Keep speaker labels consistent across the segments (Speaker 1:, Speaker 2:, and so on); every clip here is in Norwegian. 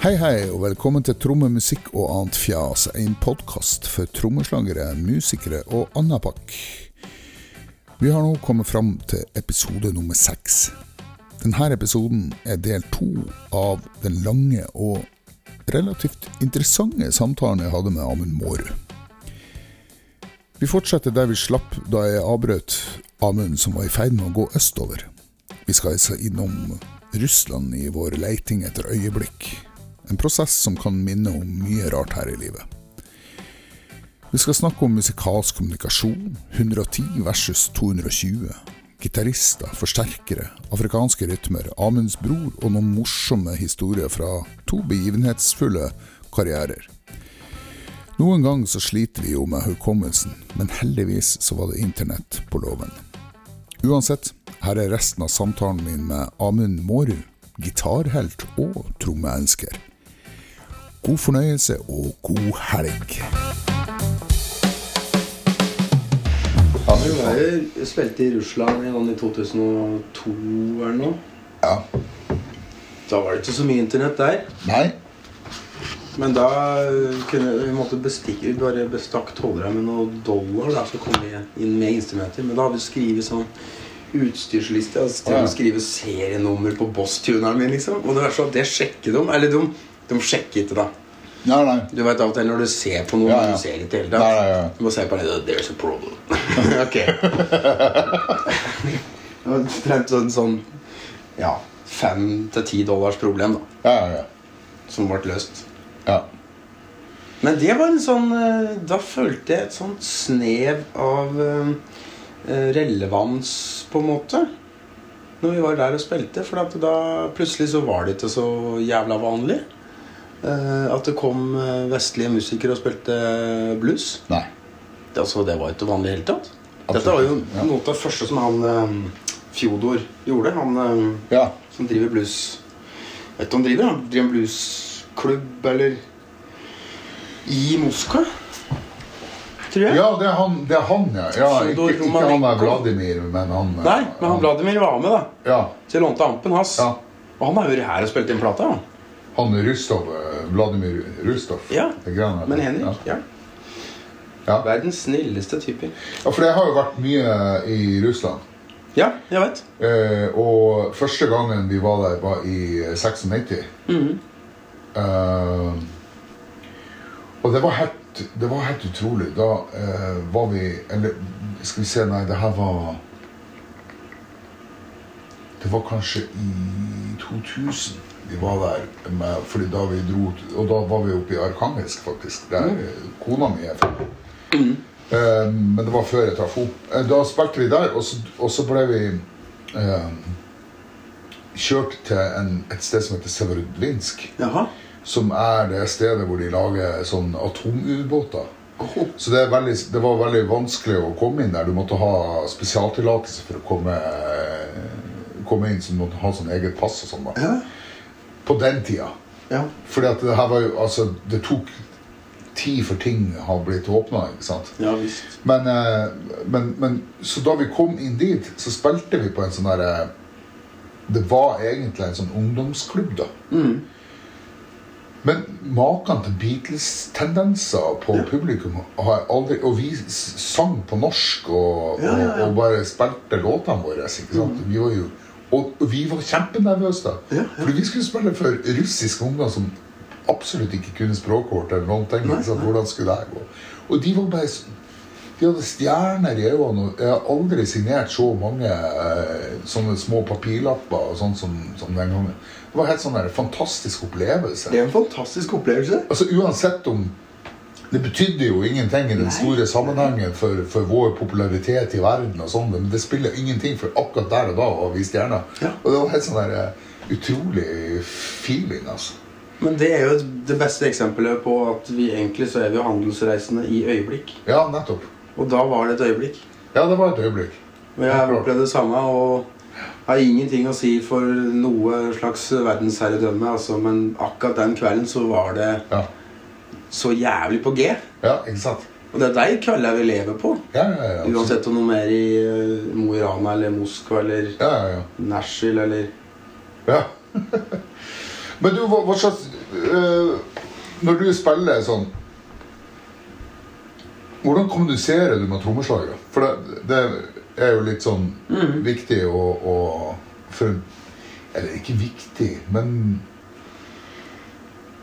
Speaker 1: Hei, hei, og velkommen til Trommemusikk og annet fjas, en podkast for trommeslagere, musikere og anna pakk. Vi har nå kommet fram til episode nummer seks. Denne episoden er del to av den lange og relativt interessante samtalen jeg hadde med Amund Mårud. Vi fortsetter der vi slapp da jeg avbrøt Amund, som var i ferd med å gå østover. Vi skal altså innom Russland i vår leiting etter øyeblikk. En prosess som kan minne om mye rart her i livet. Vi skal snakke om musikalsk kommunikasjon, 110 versus 220. Gitarister, forsterkere, afrikanske rytmer, Amunds bror og noen morsomme historier fra to begivenhetsfulle karrierer. Noen ganger så sliter vi jo med hukommelsen, men heldigvis så var det internett på låven. Uansett, her er resten av samtalen min med Amund Mårud, gitarhelt og trommeelsker. God fornøyelse og god helg.
Speaker 2: Du var jo spilte i Russland en gang i 2002 eller noe.
Speaker 1: Ja.
Speaker 2: Da var det ikke så mye internett der.
Speaker 1: Nei.
Speaker 2: Men da eh, kunne vi måtte bestikke, vi bare bestakk tollere med noen dollar da, for å komme inn med instrumenter. Men da hadde vi skrevet sånn utstyrsliste. Altså, til
Speaker 1: Ja.
Speaker 2: å skrive serienummer på boss-tuneren min, liksom. Og det verste var at det sjekket de. Eller de, de sjekket ikke, da.
Speaker 1: Nei, nei.
Speaker 2: Du vet av og til når du ser på noe
Speaker 1: Ja, ja.
Speaker 2: du ser ikke hele
Speaker 1: Nei, ja, ja.
Speaker 2: Du må se på det There's a problem. ok. Det var Omtrent sånn, sånn ja, fem til ti dollars problem da,
Speaker 1: Ja, ja, ja.
Speaker 2: som ble løst.
Speaker 1: ja.
Speaker 2: Men det var en sånn eh, Da følte jeg et sånt snev av eh, relevans, på en måte. Når vi var der og spilte. For at da plutselig så var det ikke så jævla vanlig. eh, At det kom eh, vestlige musikere og spilte blues.
Speaker 1: Nei.
Speaker 2: Det- Altså, det var jo ikke vanlig i det hele tatt.
Speaker 1: Absolutt,
Speaker 2: Dette var jo
Speaker 1: ja.
Speaker 2: noe av det første som han eh, Fjodor gjorde. Han eh,
Speaker 1: Ja.
Speaker 2: som driver blues Vet du hva han driver? Han driver en bluesklubb eller I Moskva, tror jeg.
Speaker 1: Ja, det er han, det er han ja. ja ikke,
Speaker 2: Fyodor
Speaker 1: ikke han der
Speaker 2: Romanenko.
Speaker 1: Vladimir, men han eh,
Speaker 2: Nei, men han Vladimir var med, da.
Speaker 1: Ja.
Speaker 2: Så jeg lånte ampen hans.
Speaker 1: ja.
Speaker 2: Og han har vært her og spilt inn plata. han.
Speaker 1: Han Rustov, eh, Vladimir Rustov.
Speaker 2: Ja,
Speaker 1: Det greiene der.
Speaker 2: Men Henrik, ja.
Speaker 1: Ja. ja.
Speaker 2: Verdens snilleste typer.
Speaker 1: Ja, for det har jo vært mye i Russland.
Speaker 2: Ja, jeg vet.
Speaker 1: Eh, og første gangen vi var der, var i 96. Eh, og det var helt, det var helt utrolig. Da eh, var vi Eller skal vi se, nei, det her var Det var kanskje i 2000 vi var der. Med, fordi da vi dro Og da var vi oppe i Arkangelsk, faktisk. Der eh, kona mi er fra. Eh, men det var før jeg traff henne. Eh, Da spilte vi der, og så, og så ble vi eh, kjørt til en, et sted som heter Severodvinsk.
Speaker 2: Jaha.
Speaker 1: Som er det stedet hvor de lager sånn atomubåter.
Speaker 2: Oh,
Speaker 1: Så det, er veldig, det var veldig vanskelig å komme inn der. Du måtte ha spesialtillatelse for å komme, eh, komme inn, så du måtte ha sånn eget pass og sånn. da.
Speaker 2: ja.
Speaker 1: På den tida.
Speaker 2: ja.
Speaker 1: Fordi at det her var jo Altså, det tok tid for ting har blitt åpna, ikke sant?
Speaker 2: Ja visst.
Speaker 1: Men, eh, men, men Så da vi kom inn dit, så spilte vi på en sånn derre Det var egentlig en sånn ungdomsklubb, da.
Speaker 2: Mm.
Speaker 1: Men maken til Beatles-tendenser på publikum har jeg aldri Og vi s- sang på norsk og,
Speaker 2: Ja, ja, ja. Mm.
Speaker 1: og, og bare spilte låtene våre. Ikke sant? Vi var jo, og, og vi var kjempenervøse da.
Speaker 2: Ja, ja.
Speaker 1: Fordi vi skulle spille for russisk ungdom som absolutt ikke kunne språkkort eller noen ting.
Speaker 2: Nei,
Speaker 1: Ikke sant?
Speaker 2: nei.
Speaker 1: Hvordan skulle det gå? Og de var bare s- De hadde stjerner i øynene. og Jeg har aldri signert så mange eh, sånne små papirlapper og sånn som, som den gangen. Det var helt sånn der fantastisk opplevelse.
Speaker 2: Det er en fantastisk opplevelse.
Speaker 1: Altså uansett om Det betydde jo ingenting i den
Speaker 2: Nei.
Speaker 1: store sammenhengen for, for vår popularitet i verden og sånn, men det spiller ingenting, for akkurat der og da var vi stjerner.
Speaker 2: Ja.
Speaker 1: Og det var helt sånn der eh, utrolig feeling, altså.
Speaker 2: Men det er jo det beste eksempelet på at vi egentlig så er vi jo handelsreisende i øyeblikk.
Speaker 1: Ja, nettopp.
Speaker 2: Og da var det et øyeblikk.
Speaker 1: Ja, det var et øyeblikk.
Speaker 2: Og jeg har opplevd det samme og har ingenting å si for noe slags verdensherredømme, altså, men akkurat den kvelden så var det
Speaker 1: Ja,
Speaker 2: så jævlig på G.
Speaker 1: ja ikke sant?
Speaker 2: Og det er de kveldene vi lever på.
Speaker 1: Ja, ja, altså. ja. absolutt.
Speaker 2: Uansett om noe mer i eh, Mo i Rana eller Moskva eller
Speaker 1: Ja, ja, ja.
Speaker 2: Nashville eller
Speaker 1: ja. men du, hva, hva slags eh, eh, Når du spiller sånn Hvordan kommuniserer du med trommeslagere? For det, det er jo litt sånn viktig å, å for, Eller ikke viktig, men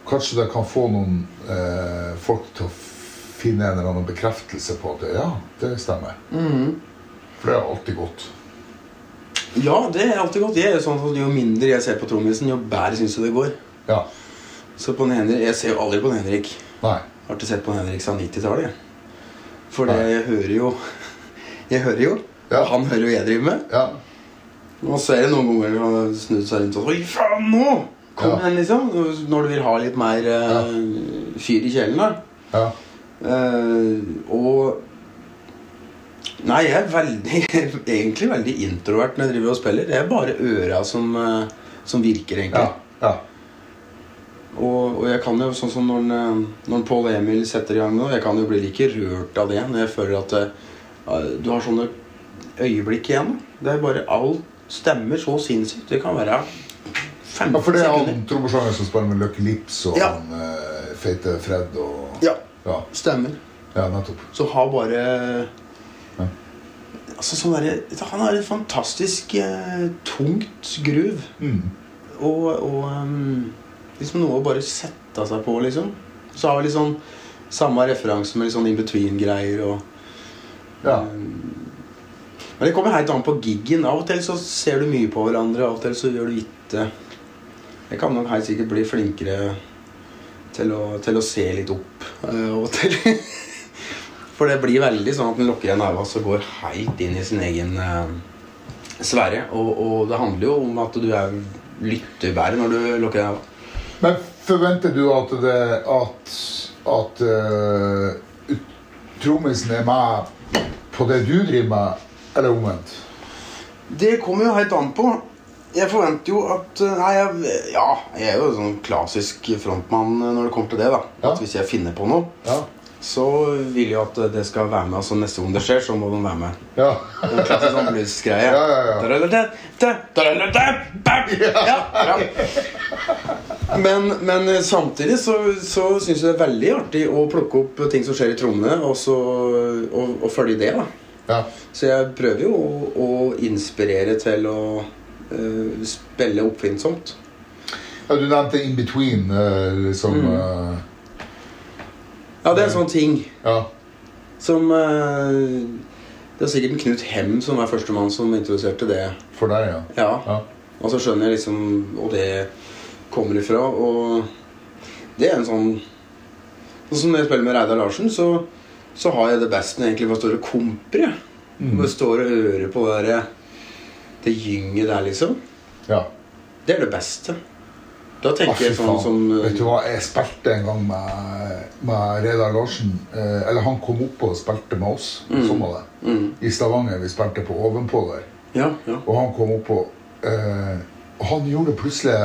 Speaker 1: Kanskje det kan få noen eh, folk til å finne en eller annen bekreftelse på at ja, det stemmer. For det er alltid godt.
Speaker 2: Ja, det er alltid godt. Jeg er jo sånn at Jo mindre jeg ser på trommisen, jo bedre syns jeg det går.
Speaker 1: Ja.
Speaker 2: Så på den Henrik, Jeg ser jo aldri på den Henrik.
Speaker 1: Nei.
Speaker 2: Jeg har ikke sett på den Henrik siden 90-tallet. jeg. For det, jeg hører jo Jeg hører jo.
Speaker 1: Ja.
Speaker 2: Og han hører jo jeg driver med.
Speaker 1: Ja.
Speaker 2: Og så er det noen ganger han har snudd seg rundt og sånn Oi, faen, nå! Kom
Speaker 1: Ja.
Speaker 2: igjen, liksom. Når du vil ha litt mer eh, fyr i kjelen, da.
Speaker 1: Ja.
Speaker 2: Eh, og Nei, jeg er veldig, egentlig veldig introvert når jeg driver og spiller. Det er bare øra som, eh, som virker,
Speaker 1: Ja.
Speaker 2: egentlig.
Speaker 1: ja.
Speaker 2: Og, og jeg kan jo, sånn som når, en, eh, når Pål Emil setter i gang nå, jeg kan jo bli like rørt av det når jeg føler at eh, du har sånne øyeblikk igjen. Det er bare alt stemmer så sinnssykt. Det kan være 15
Speaker 1: Ja, for det er
Speaker 2: sekunder.
Speaker 1: han trommeslageren som spiller med Lucky Lips og
Speaker 2: Ja.
Speaker 1: han eh, feite Fred og
Speaker 2: Ja,
Speaker 1: ja,
Speaker 2: stemmer.
Speaker 1: ja, nettopp.
Speaker 2: Så har bare
Speaker 1: Ja.
Speaker 2: Altså sånn derre- Han har et fantastisk eh, tungt gruv.
Speaker 1: Mm.
Speaker 2: Og, og ehm, liksom noe å bare sette seg på, liksom. Så har vi litt sånn samme referanse med litt sånn in between-greier og
Speaker 1: Ja.
Speaker 2: Eh, Men det kommer helt an på giggen. Av og til så ser du mye på hverandre, av og til så gjør du ikke. Jeg kan nok helt sikkert bli flinkere til å, til å se litt opp eh, av og til. For det blir veldig sånn at en lukker igjen øynene og går helt inn i sin egen eh, sfære. Og, og det handler jo om at du er lytterbærer når du lukker øynene.
Speaker 1: Men forventer du at det at, at eh, ut- trommisen er med på det du driver med, eller omvendt?
Speaker 2: Det kommer jo helt an på. Jeg forventer jo at eh, Nei, jeg, ja, jeg er jo sånn klassisk frontmann eh, når det kommer til det. da
Speaker 1: Ja.
Speaker 2: At Hvis jeg finner på noe,
Speaker 1: Ja.
Speaker 2: så vil jeg at eh, det skal være med. Altså Neste gang det skjer, så må de være med.
Speaker 1: Ja.
Speaker 2: Det er en klassisk sånn bluesgreie.
Speaker 1: Ja, ja, ja.
Speaker 2: Da-da-da-da, da-da-da-da, bam! Ja, ja. Men, men eh, samtidig så, så syns jeg det er veldig artig å plukke opp ting som skjer i trommene, og, så, og, og følge det. da
Speaker 1: ja.
Speaker 2: så jeg prøver jo å, å inspirere til å eh, spille oppfinnsomt.
Speaker 1: Ja, Du nevnte In Between, eh, liksom
Speaker 2: Mm.
Speaker 1: eh,
Speaker 2: Ja, det er en sånn ting
Speaker 1: Ja.
Speaker 2: som eh, Det er sikkert en Knut Hem som er førstemann som introduserte det.
Speaker 1: For deg, ja.
Speaker 2: Ja,
Speaker 1: Ja.
Speaker 2: Og så skjønner jeg liksom hvor det kommer ifra. Og det er en sånn Sånn som når jeg spiller med Reidar Larsen, så, så har jeg det besten egentlig for store komper. jeg.
Speaker 1: Mm.
Speaker 2: Hvor jeg står og hører på det, der- det gynget der, liksom.
Speaker 1: ja.
Speaker 2: Det er det beste. Da
Speaker 1: Ah,
Speaker 2: tenker
Speaker 1: fy
Speaker 2: jeg sånn
Speaker 1: faen.
Speaker 2: som
Speaker 1: Vet du hva, jeg spilte en gang med, med Reidar Larsen. Eh, eller han kom opp og spilte med oss. Sånn var det.
Speaker 2: Mm.
Speaker 1: I Stavanger. Vi spilte på Ovenpå der.
Speaker 2: Ja, ja.
Speaker 1: Og han kom opp og eh, Han gjorde plutselig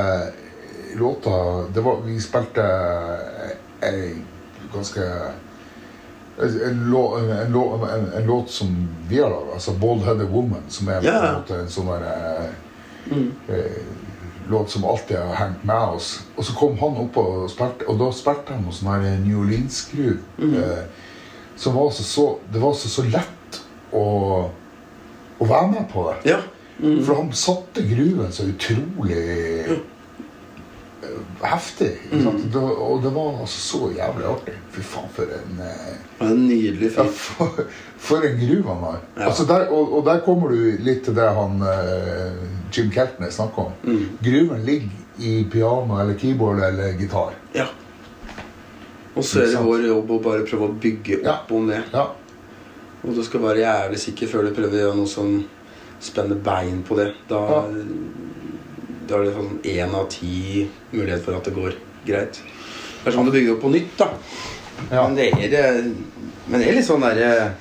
Speaker 1: låta det var, Vi spilte eh, ei ganske eh, en, lå- en, lå- en, en låt som vi har laga, altså 'Bald Headed Woman', som er på
Speaker 2: Ja.
Speaker 1: en måte en sånn der,
Speaker 2: Mm.
Speaker 1: eh, eh, låt som alltid har hengt med oss. Og så kom han opp og spilte, og da spilte han noe sånn her New Orleans-groove.
Speaker 2: Mm.
Speaker 1: Eh, som var altså så Det var altså så lett å, å være med på det.
Speaker 2: ja. Mm.
Speaker 1: For han satte gruven så utrolig eh, heftig. Ikke sant?
Speaker 2: Mm.
Speaker 1: Det, og det var altså så jævlig artig. Fy faen, for en eh,
Speaker 2: Det er en nydelig
Speaker 1: ja,
Speaker 2: fyr.
Speaker 1: for, for en gruve han har.
Speaker 2: Ja.
Speaker 1: Altså der, og, og der kommer du litt til det han eh, Jim Keltner snakker om.
Speaker 2: Mm.
Speaker 1: Gruven ligger i piano eller keyboard eller gitar.
Speaker 2: Ja. Og så er
Speaker 1: Ikke
Speaker 2: det
Speaker 1: sant?
Speaker 2: vår jobb å bare prøve å bygge
Speaker 1: Ja.
Speaker 2: opp om det.
Speaker 1: Ja.
Speaker 2: Og du skal være jævlig sikker før du prøver å gjøre noe som spenner bein på det. Da,
Speaker 1: Ja.
Speaker 2: da er det sånn én av ti mulighet for at det går greit. Det er sånn du bygger opp på nytt, da.
Speaker 1: Ja.
Speaker 2: Men, det er, det- men det er litt sånn derre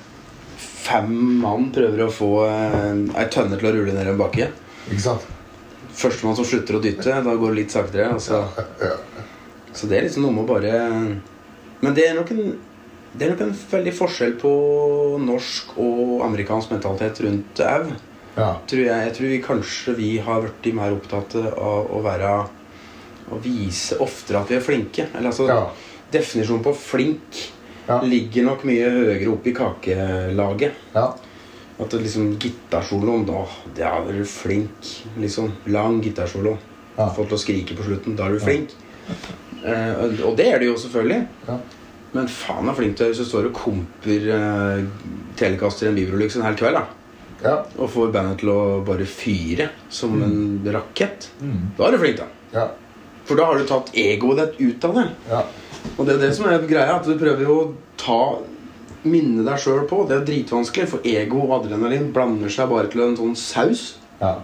Speaker 2: Fem mann prøver å få eh, ei tønne til å rulle ned en bakke.
Speaker 1: Ikke sant?
Speaker 2: Førstemann som slutter å dytte, da går det litt saktere. Altså.
Speaker 1: Ja.
Speaker 2: Så det er liksom noe med å bare Men det er nok en det er nok en veldig forskjell på norsk og amerikansk mentalitet rundt au.
Speaker 1: ja.
Speaker 2: Tror jeg, jeg tror vi kanskje vi har blitt mer opptatt av å være å vise oftere at vi er flinke. Eller altså
Speaker 1: Ja.
Speaker 2: Definisjonen på flink
Speaker 1: Ja.
Speaker 2: ligger nok mye høyere oppe i kakelaget.
Speaker 1: Ja.
Speaker 2: At det liksom gitarsoloen Da det er vel flink. Liksom lang gitarsolo.
Speaker 1: Ja.
Speaker 2: Fått til å skrike på slutten. Da er du flink. Eh, og det er du jo selvfølgelig.
Speaker 1: Ja.
Speaker 2: Men faen er flink du er hvis du står og komper eh, Telecaster en Biberolux en hel kveld. da
Speaker 1: ja.
Speaker 2: Og får bandet til å bare fyre som en rakett.
Speaker 1: Mm.
Speaker 2: Da er du flink, da.
Speaker 1: Ja.
Speaker 2: For da har du tatt egoet ditt ut av det.
Speaker 1: Ja.
Speaker 2: Og det er det som er greia, at du prøver jo å ta minne deg sjøl på. Det er dritvanskelig, for ego og adrenalin blander seg bare til en sånn saus.
Speaker 1: Ja.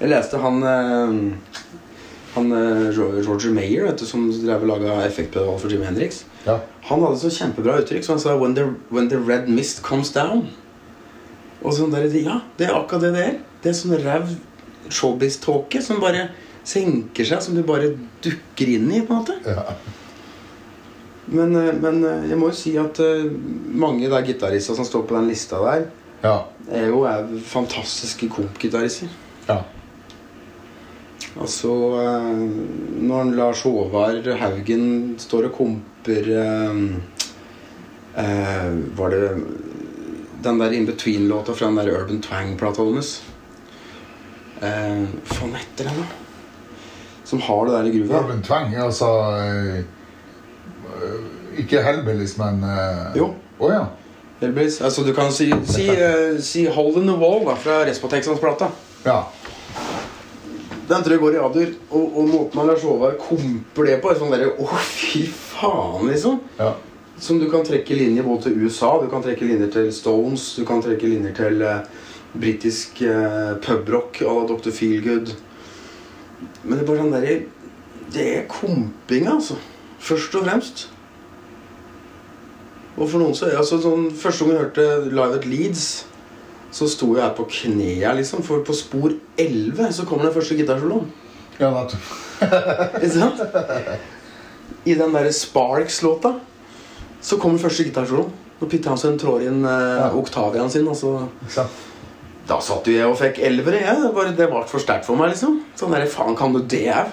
Speaker 2: Jeg leste han eh, Han eh, Roger Mayer, vet du, som drev og laga effektpedal for Jim Hendrix.
Speaker 1: Ja.
Speaker 2: Han hadde så kjempebra uttrykk, så han sa When the, when the red mist comes down. Og sånn der, Ja, det er akkurat det det er. Det er sånn ræv showbiz-tåke som bare senker seg, som du bare dukker inn i, på en måte.
Speaker 1: Ja.
Speaker 2: Men, eh, men eh, jeg må jo si at eh, mange der gitarister som står på den lista der,
Speaker 1: Ja.
Speaker 2: er jo er fantastiske kompgitarister.
Speaker 1: Ja.
Speaker 2: Altså eh, Når Lars Håvard Haugen står og komper eh, eh, Var det den der In Between-låta fra den der Urban Twang-plata hennes? Eh, Faen heter den, da? Som har det der i gruvet.
Speaker 1: Urban Twang, altså eh, eh, Ikke Hellbillies, men eh,
Speaker 2: Jo.
Speaker 1: Å ja.
Speaker 2: Elvis. Altså, du kan si, si, eh, si Hole in the Wall da, fra Respatex-plata.
Speaker 1: Ja.
Speaker 2: Den tror jeg går i adder. Og, og måten man Lars Håvard komper det på, er sånn derre Å, fy faen, liksom.
Speaker 1: Ja.
Speaker 2: Som du kan trekke linjer både til USA, du kan trekke linjer til Stones, du kan trekke linjer til eh, britisk eh, pubrock à la Dr. Feelgood. Men det er bare sånn derre Det er komping, altså. Først og fremst. Og for noen så er det altså sånn Første gang jeg hørte Live at Leeds, så sto jeg her på knea, liksom. For på spor 11 så kommer den første gitarsoloen.
Speaker 1: ja nettopp.
Speaker 2: Ikke sant? I den derre Sparks-låta så kommer første gitarsoloen. Når Pete Townsend trår inn eh,
Speaker 1: Ja.
Speaker 2: oktaviaen sin. altså. Og så,
Speaker 1: Ikke sant?
Speaker 2: da satt jo jeg og fikk elvere. Jeg. Det, bare, det var for sterkt for meg. liksom Sånn der, faen kan du det au?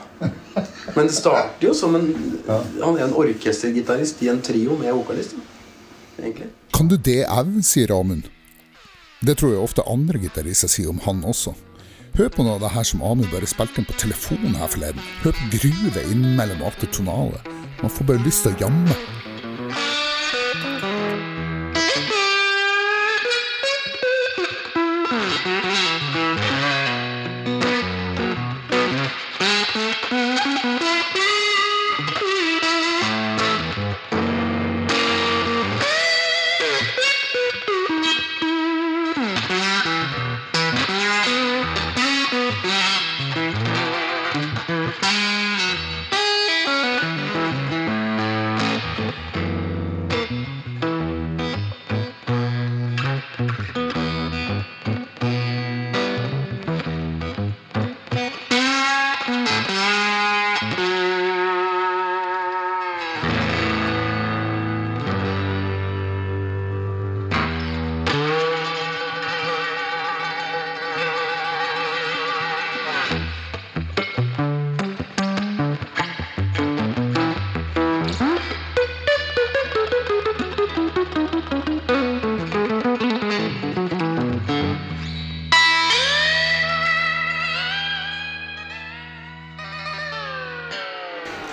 Speaker 2: Men det starter jo som en
Speaker 1: Ja.
Speaker 2: Han er en orkestergitarist i en trio med vokalist. da, Egentlig.
Speaker 1: Kan du det au, sier Amund. Det tror jeg ofte andre gitarister sier om han også. Hør på noe av det her som Amund bare spilte inn på telefonen her forleden. Hør på gruvet innimellom alt det tonale. Man får bare lyst til å jamme.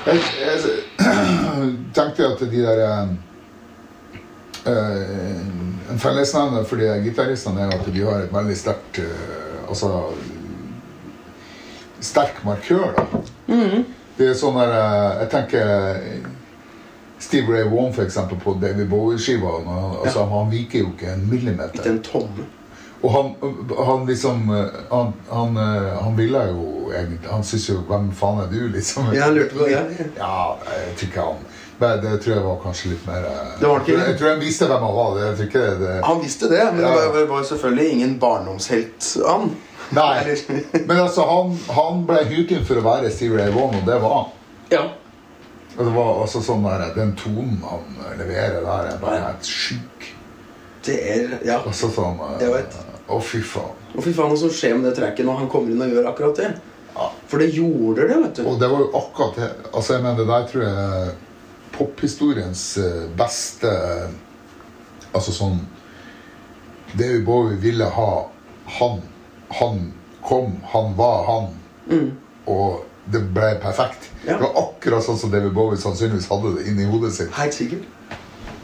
Speaker 1: Jeg, jeg tenkte at de der eh, eh, En fellesnevner for de der gitaristene er at de har et veldig sterkt eh, Altså Sterk markør, da. Det er sånn der eh, Jeg tenker eh, Steve Ray Vaughan, for eksempel, på David Bowie-skiva. når han- Altså, Han viker jo ikke en millimeter.
Speaker 2: Ikke en tomme.
Speaker 1: Og han, han liksom eh, Han, han, eh, han ville jo egentlig Han syntes jo 'Hvem faen er du?' liksom.
Speaker 2: Ja, han lurte på det, ja.
Speaker 1: Ja, jeg tror ikke han Men det tror jeg var kanskje litt mer eh,
Speaker 2: Det var ikke det.
Speaker 1: Jeg tror han visste hvem han var. Det, jeg tror ikke det,
Speaker 2: Han visste det, men
Speaker 1: Ja.
Speaker 2: det var, var selvfølgelig ingen barndomshelt, han.
Speaker 1: Nei. Men altså, han, han ble hyrt inn for å være Steve Ray Vaughan, og det var han.
Speaker 2: Ja.
Speaker 1: Og det var altså sånn der, Den tonen han leverer der, er bare helt sjuk.
Speaker 2: Det er Ja.
Speaker 1: Altså sånn eh,
Speaker 2: Jeg vet.
Speaker 1: Å, fy faen.
Speaker 2: Og fy faen, hva som skjer med det tracket når han kommer inn og gjør akkurat det? For det gjorde det, vet du.
Speaker 1: Og det var jo akkurat det. Altså, jeg mener, det der tror jeg er pophistoriens eh, beste Altså sånn David Bowie ville ha han. Han kom, han var han. Og det ble perfekt.
Speaker 2: Mm. Ja.
Speaker 1: Det var akkurat sånn som David Bowie sannsynligvis hadde det inni hodet sitt.
Speaker 2: Helt sikkert.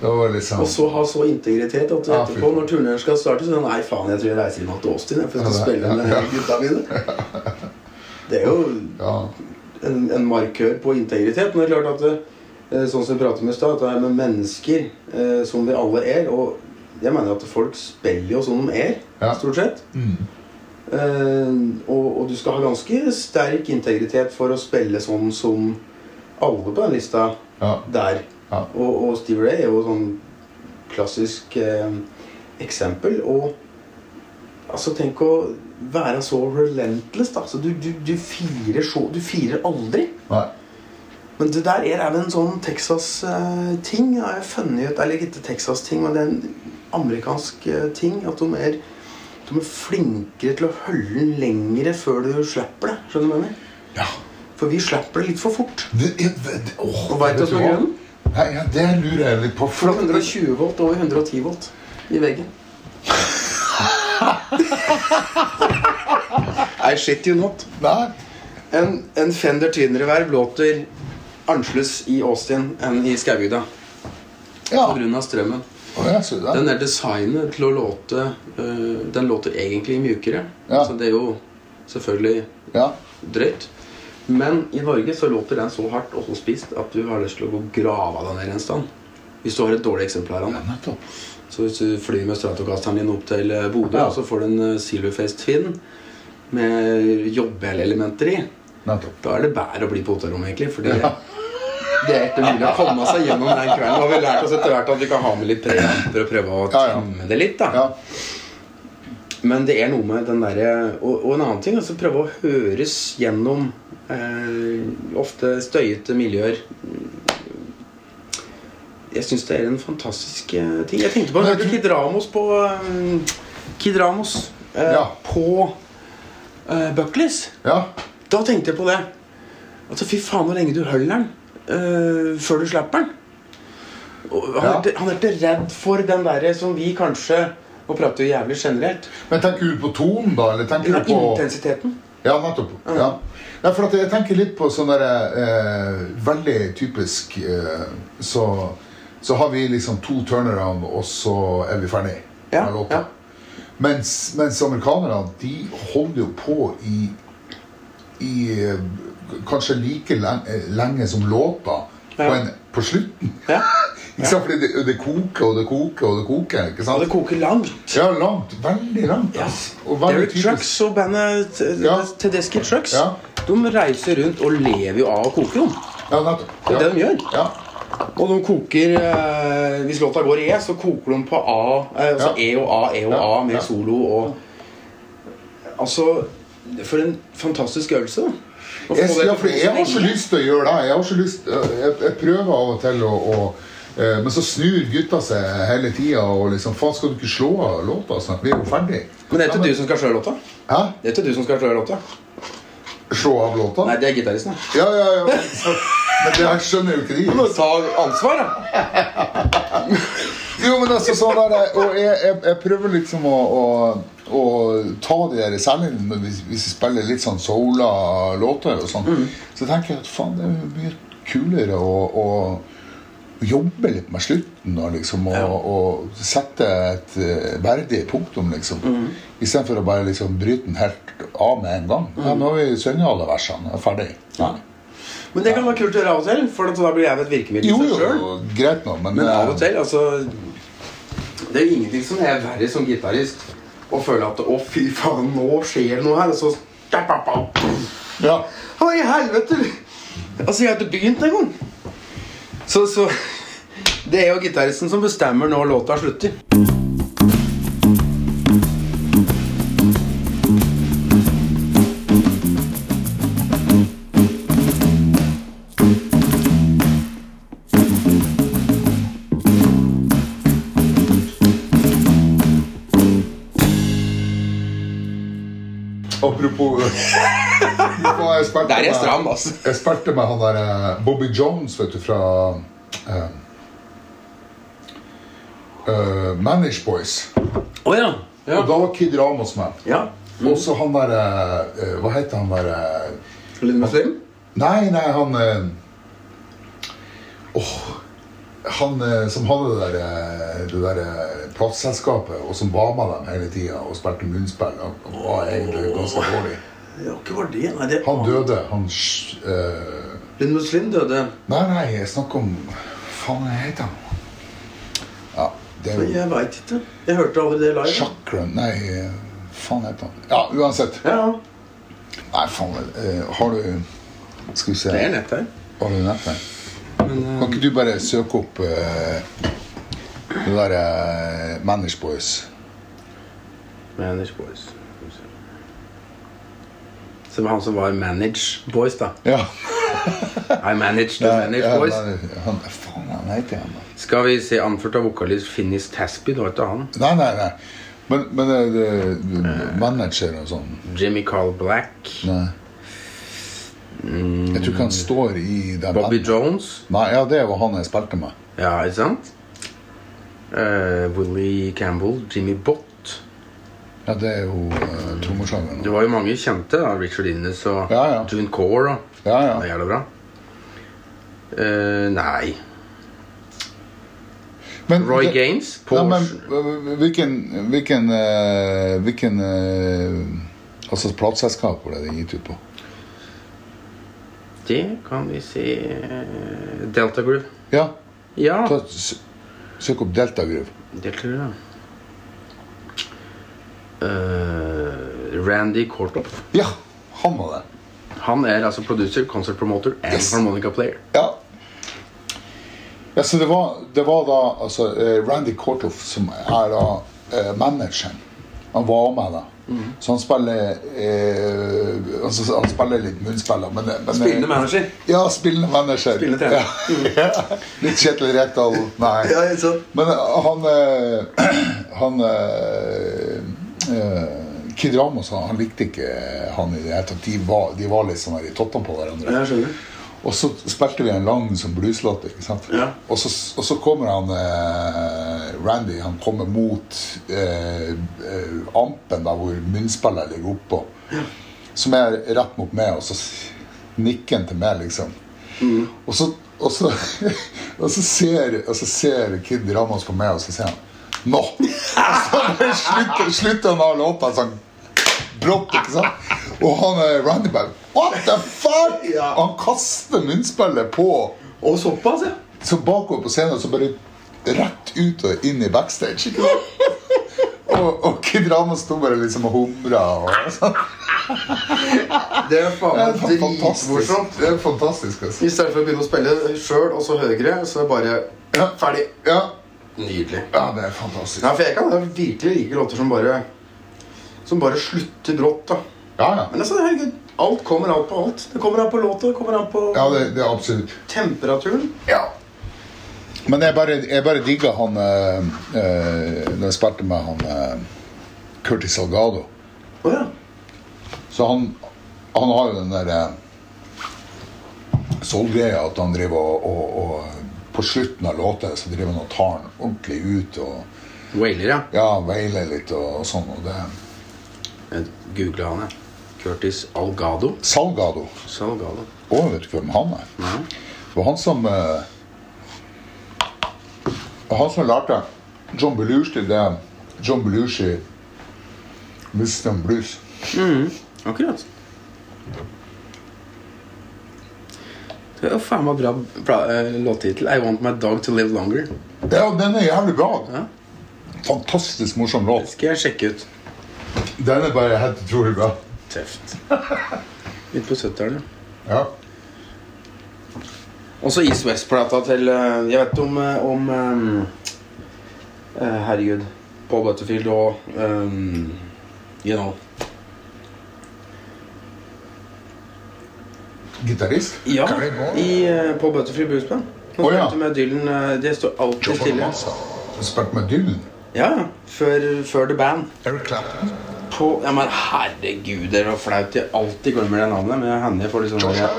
Speaker 1: Det var liksom
Speaker 2: Og så ha så integritet at du
Speaker 1: Ja,
Speaker 2: etterpå,
Speaker 1: fy.
Speaker 2: når turnéen skal starte, så sier du, Nei, faen, jeg tror jeg reiser hjem til Austin jeg, for å
Speaker 1: Ja,
Speaker 2: spille med
Speaker 1: ja.
Speaker 2: gutta mine. Det er jo
Speaker 1: Ja.
Speaker 2: en, en markør på integritet. Men det er klart at det, eh, sånn som vi pratet om i stad, at det er med mennesker eh, som vi alle er. Og jeg mener at folk spiller jo som de er,
Speaker 1: Ja.
Speaker 2: stort sett.
Speaker 1: Mm.
Speaker 2: Eh, og, og du skal ha ganske sterk integritet for å spille sånn som alle på den lista
Speaker 1: ja.
Speaker 2: der.
Speaker 1: Ja.
Speaker 2: Og, og Steve Ray er jo sånn klassisk eh, eksempel. Og altså, tenk å være så relentless, da. Altså, du, du, du firer så Du firer aldri.
Speaker 1: Nei.
Speaker 2: Men det der er vel en sånn Texas-ting. jeg har jeg funnet ut, Eller ikke Texas-ting, men det er en amerikansk eh, ting. At de er, de er flinkere til å holde den lengre før du slipper det. Skjønner du hva jeg mener?
Speaker 1: Ja.
Speaker 2: For vi slipper det litt for fort.
Speaker 1: Det, det, det, åh,
Speaker 2: Og vet du hva som er grunnen?
Speaker 1: Nei, ja, det lurer jeg litt på.
Speaker 2: Fra 120 volt over 110 volt i veggen. I shit you not.
Speaker 1: Nei.
Speaker 2: En, en Fender Twin-reverb låter annerledes i Austin enn i Skaubygda
Speaker 1: Ja.
Speaker 2: pga. strømmen.
Speaker 1: Å, jeg så det.
Speaker 2: Den er designet til å låte øh, Den låter egentlig mjukere.
Speaker 1: Ja.
Speaker 2: Så det er jo selvfølgelig
Speaker 1: Ja.
Speaker 2: drøyt. Men i Norge så låter den så hardt og så spist at du har lyst til å gå og grave deg ned i en stand. Hvis du har et dårlig eksemplar av den.
Speaker 1: Ja, nettopp.
Speaker 2: Så hvis du flyr med Stratocasteren din opp til eh, Bodø,
Speaker 1: Ja.
Speaker 2: så får du en eh, Silverface Twin med jobbelelementer i,
Speaker 1: Nettopp.
Speaker 2: da er det bedre å bli på hotellrommet, egentlig. Fordi
Speaker 1: Ja.
Speaker 2: det er ikke mulig å komme seg gjennom den kvelden. Og vi har lært oss etter hvert at vi kan ha med litt preamper og prøve å
Speaker 1: Ja, ja.
Speaker 2: temme det litt. da.
Speaker 1: Ja.
Speaker 2: Men det er noe med den derre og, og en annen ting, altså prøve å høres gjennom eh, ofte støyete miljøer. Jeg syns det er en fantastisk eh, ting. Jeg tenkte på
Speaker 1: Men jeg
Speaker 2: jeg hørte
Speaker 1: tror-
Speaker 2: Kid Ramos på eh, Kid Ramos eh,
Speaker 1: Ja.
Speaker 2: på eh, Buckleys.
Speaker 1: ja.
Speaker 2: Da tenkte jeg på det. Altså, fy faen, hvor lenge du holder den eh, før du slipper den. Og han,
Speaker 1: Ja.
Speaker 2: er ikke, han er ikke redd for den derre som vi kanskje Nå prater vi jævlig generelt.
Speaker 1: Men tenker du på tonen, da? Eller tenker
Speaker 2: Ja,
Speaker 1: du på
Speaker 2: intensiteten.
Speaker 1: Ja, nettopp. Ja. Nei, for at jeg tenker litt på sånn derre eh, Veldig typisk eh, så, så har vi liksom to turnaround, og så er vi ferdig med
Speaker 2: Ja, ja.
Speaker 1: låta. Mens, mens amerikanerne, de holder jo på i, i eh, Kanskje like lenge, lenge som låta på,
Speaker 2: Ja.
Speaker 1: en, på slutten.
Speaker 2: Ja.
Speaker 1: Ikke sant? Fordi det, det koker og det koker og det koker. ikke
Speaker 2: Og
Speaker 1: sant?
Speaker 2: det koker langt.
Speaker 1: Ja, langt. Veldig langt.
Speaker 2: Ja.
Speaker 1: ass. Og veldig
Speaker 2: Derek
Speaker 1: typisk.
Speaker 2: Trucks og bandet eh,
Speaker 1: Ja.
Speaker 2: Tedeschi Trucks
Speaker 1: Ja.
Speaker 2: De reiser rundt og lever jo av å koke. dem.
Speaker 1: Ja, nettopp.
Speaker 2: Det er
Speaker 1: Ja.
Speaker 2: det de gjør.
Speaker 1: Ja.
Speaker 2: Og de koker eh, Hvis låta går i E, så koker de på A. Eh, altså
Speaker 1: Ja.
Speaker 2: E og A, E og
Speaker 1: Ja,
Speaker 2: A med
Speaker 1: ja.
Speaker 2: solo og Altså For en fantastisk øvelse, da. Å få
Speaker 1: Jeg,
Speaker 2: det
Speaker 1: ja,
Speaker 2: til å
Speaker 1: for
Speaker 2: gå
Speaker 1: jeg har ikke
Speaker 2: lenge.
Speaker 1: lyst til å gjøre det. Jeg, har ikke lyst, jeg, jeg prøver av og til å, å eh, Men så snur gutta seg hele tida og liksom Faen, skal du ikke slå av låta? Snart? Vi er jo ferdig.
Speaker 2: Men det er
Speaker 1: Ja,
Speaker 2: ikke du som skal slå låta?
Speaker 1: Hæ?
Speaker 2: Det er ikke du som skal slå låta?
Speaker 1: Slå av låta?
Speaker 2: Nei, det er gitaristen. da.
Speaker 1: Ja, ja, ja. Men så- men det her skjønner jo ikke de.
Speaker 2: Du må ta ansvar, da.
Speaker 1: Jo, men altså sånn der, og jeg, jeg, jeg prøver liksom å, å, å ta de der Særlig når vi- hvis vi spiller litt sånn soula låter og sånn,
Speaker 2: Mm.
Speaker 1: så tenker jeg at faen, det er jo mye kulere å, å jobbe litt med slutten og liksom og,
Speaker 2: Ja.
Speaker 1: og sette et eh, verdig punktum, liksom.
Speaker 2: Mm.
Speaker 1: Istedenfor å bare liksom bryte den helt av med en gang. Ja,
Speaker 2: Mm.
Speaker 1: nå har vi sunget alle versene. Er ferdig. Ja.
Speaker 2: Men det kan være kult å gjøre av og til, for da blir jeg et virkemiddel
Speaker 1: Jo,
Speaker 2: i seg selv.
Speaker 1: jo, greit nå, men,
Speaker 2: Men
Speaker 1: eh,
Speaker 2: av og til, altså Det er jo ingenting som er verre som gitarist å føle at Å, fy faen, nå skjer det noe her. altså. Og så Hva
Speaker 1: Ja.
Speaker 2: i helvete? Altså, jeg har ikke begynt engang. Så, så Det er jo gitaristen som bestemmer når låta slutter.
Speaker 1: Apropos Jeg spilte
Speaker 2: Der er jeg
Speaker 1: med-
Speaker 2: stram, altså.
Speaker 1: Jeg spilte med han der eh, Bobby Jones, vet du, fra eh, eh, Manage Boys.
Speaker 2: Å ja.
Speaker 1: Og da var Kid Ramos med.
Speaker 2: ja.
Speaker 1: Og så han der eh, eh, Hva heter han der eh,
Speaker 2: Linn Muslim?
Speaker 1: Nei, nei, han eh, Åh Han eh, som hadde det der, eh, det der eh, plateselskapet, og som var med dem hele tida og spilte munnspill, han, han var egentlig ganske dårlig.
Speaker 2: Ja, ikke var det. Nei, det
Speaker 1: Han døde. Han sj- eh,
Speaker 2: Linn Muslim døde.
Speaker 1: Nei, nei, jeg snakker om Faen, hva heter han? Ja, det er jo
Speaker 2: Men Jeg veit ikke. Jeg hørte aldri det live.
Speaker 1: Chakran Nei, eh, faen heter han Ja, uansett.
Speaker 2: Ja,
Speaker 1: Nei, faen eh, Har du Skal vi se
Speaker 2: det er nett her.
Speaker 1: Har du nett her?
Speaker 2: Men eh,
Speaker 1: Kan ikke du bare søke opp eh, det der eh, Manage Boys?
Speaker 2: Manage Boys. Skal vi se. Så det var han som var Manage Boys, da.
Speaker 1: Ja.
Speaker 2: I managed the Manage
Speaker 1: ja,
Speaker 2: Boys.
Speaker 1: nei, han, faen, han heter han da.
Speaker 2: Skal vi se, anført av vokalist Finnis Tasby, det var ikke han.
Speaker 1: Nei, nei, nei. Men, men eh, det, det, manager og sånn
Speaker 2: Jimmy Carl Black.
Speaker 1: Nei. Jeg tror ikke han står i den
Speaker 2: Bobby
Speaker 1: banden.
Speaker 2: Jones.
Speaker 1: Nei, ja, det var han jeg spilte med.
Speaker 2: Ja, ikke sant? Eh, Willie Campbell. Jimmy Bott.
Speaker 1: Ja, det er jo uh, trommeslageren.
Speaker 2: Det var jo mange kjente. da, Richard Innes og
Speaker 1: Ja, ja.
Speaker 2: June Core. Og.
Speaker 1: Ja,
Speaker 2: Det
Speaker 1: ja.
Speaker 2: er jævla bra. Eh, nei
Speaker 1: Men,
Speaker 2: Roy
Speaker 1: det-
Speaker 2: Gaines.
Speaker 1: Nei, men
Speaker 2: Porsche.
Speaker 1: eh, hvilken Hvilken, eh, hvilken eh, Altså plateselskap ble det gitt ut på?
Speaker 2: Det kan vi se eh, Delta Groove.
Speaker 1: Ja,
Speaker 2: Ja.
Speaker 1: ta, s- søk opp Delta Groove.
Speaker 2: Delta Groove, ja. Eh, Randy Cortop.
Speaker 1: Ja, han var det.
Speaker 2: Han er altså producer, concert promoter and
Speaker 1: Yes.
Speaker 2: harmonica player.
Speaker 1: Ja. ja så det var, det var da altså, eh, Randy Kortoff som er da eh, manageren. Han var med da. Så han spiller eh, altså, Han spiller litt munnspiller, men, eh, men
Speaker 2: manager.
Speaker 1: Ja, spillende manager.
Speaker 2: Spillende trener. Mm.
Speaker 1: Ja. Litt Kjetil Rekdal, nei. Men eh, han eh, Han eh, eh, Kid Ramos han, han likte ikke han i det hele tatt. De var, de var litt sånn her i tottene på hverandre.
Speaker 2: skjønner.
Speaker 1: Og så spilte vi en lang sånn blueslåt, ikke sant.
Speaker 2: Ja.
Speaker 1: Og, så, og så kommer han eh, Randy han kommer mot eh, eh, ampen der hvor munnspillet ligger oppå. Som er rett mot meg, og så s- nikker han til meg, liksom. Og så, og så, og så, ser, og så ser Kid Ramos på meg, og så sier han Nå! Og så bare slutter, slutter han av låta sånn brått, ikke sant? Og han eh, Randy bare What the fuck?!
Speaker 2: Ja.
Speaker 1: Han kaster munnspillet på
Speaker 2: Og såpass, ja.
Speaker 1: så bakover på scenen så bare rett ut og inn i backstage. Ikke sant? Og, og Kid Ramos sto bare liksom og humra. Og, sånn.
Speaker 2: Det er
Speaker 1: det
Speaker 2: faen
Speaker 1: er
Speaker 2: meg
Speaker 1: fantastisk.
Speaker 2: dritmorsomt.
Speaker 1: Det er fantastisk altså.
Speaker 2: I stedet for å begynne å spille sjøl og så høyre, så bare
Speaker 1: Ja.
Speaker 2: ferdig.
Speaker 1: Ja.
Speaker 2: Nydelig.
Speaker 1: ja, det er fantastisk.
Speaker 2: Nei, for jeg kan virkelig like låter som bare Som bare slutter brått, da.
Speaker 1: Ja, ja.
Speaker 2: Men altså, herregud, alt kommer an på alt. Det kommer an på låta, det kommer an på
Speaker 1: ja det, det er absolutt.
Speaker 2: temperaturen.
Speaker 1: Ja. Men jeg bare, jeg bare digga han eh, eh, Når jeg spilte med han eh, Curtis Salgado.
Speaker 2: Å ja.
Speaker 1: Så han, han har jo den der eh, soul-greia at han driver og, og, og På slutten av låta så driver han og tar den ordentlig ut og
Speaker 2: Wailer, ja.
Speaker 1: ja, veiler litt og, og sånn. Og det
Speaker 2: Jeg googlet han, jeg. Curtis Algado.
Speaker 1: Salgado.
Speaker 2: Salgado.
Speaker 1: Å, vet du hvem han er?
Speaker 2: Nei.
Speaker 1: Det var han som eh, Han som lærte John Belushi det John Belushi Mustang Blues.
Speaker 2: Akkurat. Det er jo faen meg bra pla- eh, låttittel. I want my dog to live longer.
Speaker 1: Ja, den er jævlig bra.
Speaker 2: Ja.
Speaker 1: Fantastisk morsom låt.
Speaker 2: Skal jeg sjekke ut.
Speaker 1: Den er bare helt utrolig bra.
Speaker 2: Tøft. Midt på 70-tallet.
Speaker 1: Ja.
Speaker 2: Også East West-plata til eh, Jeg vet om, eh, om eh, eh, Herregud. Paul Butterfield og um, You know.
Speaker 1: Gitarist?
Speaker 2: Ja,
Speaker 1: Gary Moore?
Speaker 2: i, eh, Paul Butterfield Blues Band. Nå
Speaker 1: Å, ja.
Speaker 2: spilte med Dylan. eh, det står alltid
Speaker 1: John
Speaker 2: stille.
Speaker 1: Bonamassa. Spilte med Dylan.
Speaker 2: Ja, ja. Før, før The Band.
Speaker 1: Eric Clapton.
Speaker 2: på Ja, men herregud, det er så flaut. Jeg alltid glemmer det navnet. Men Hanny får liksom bare-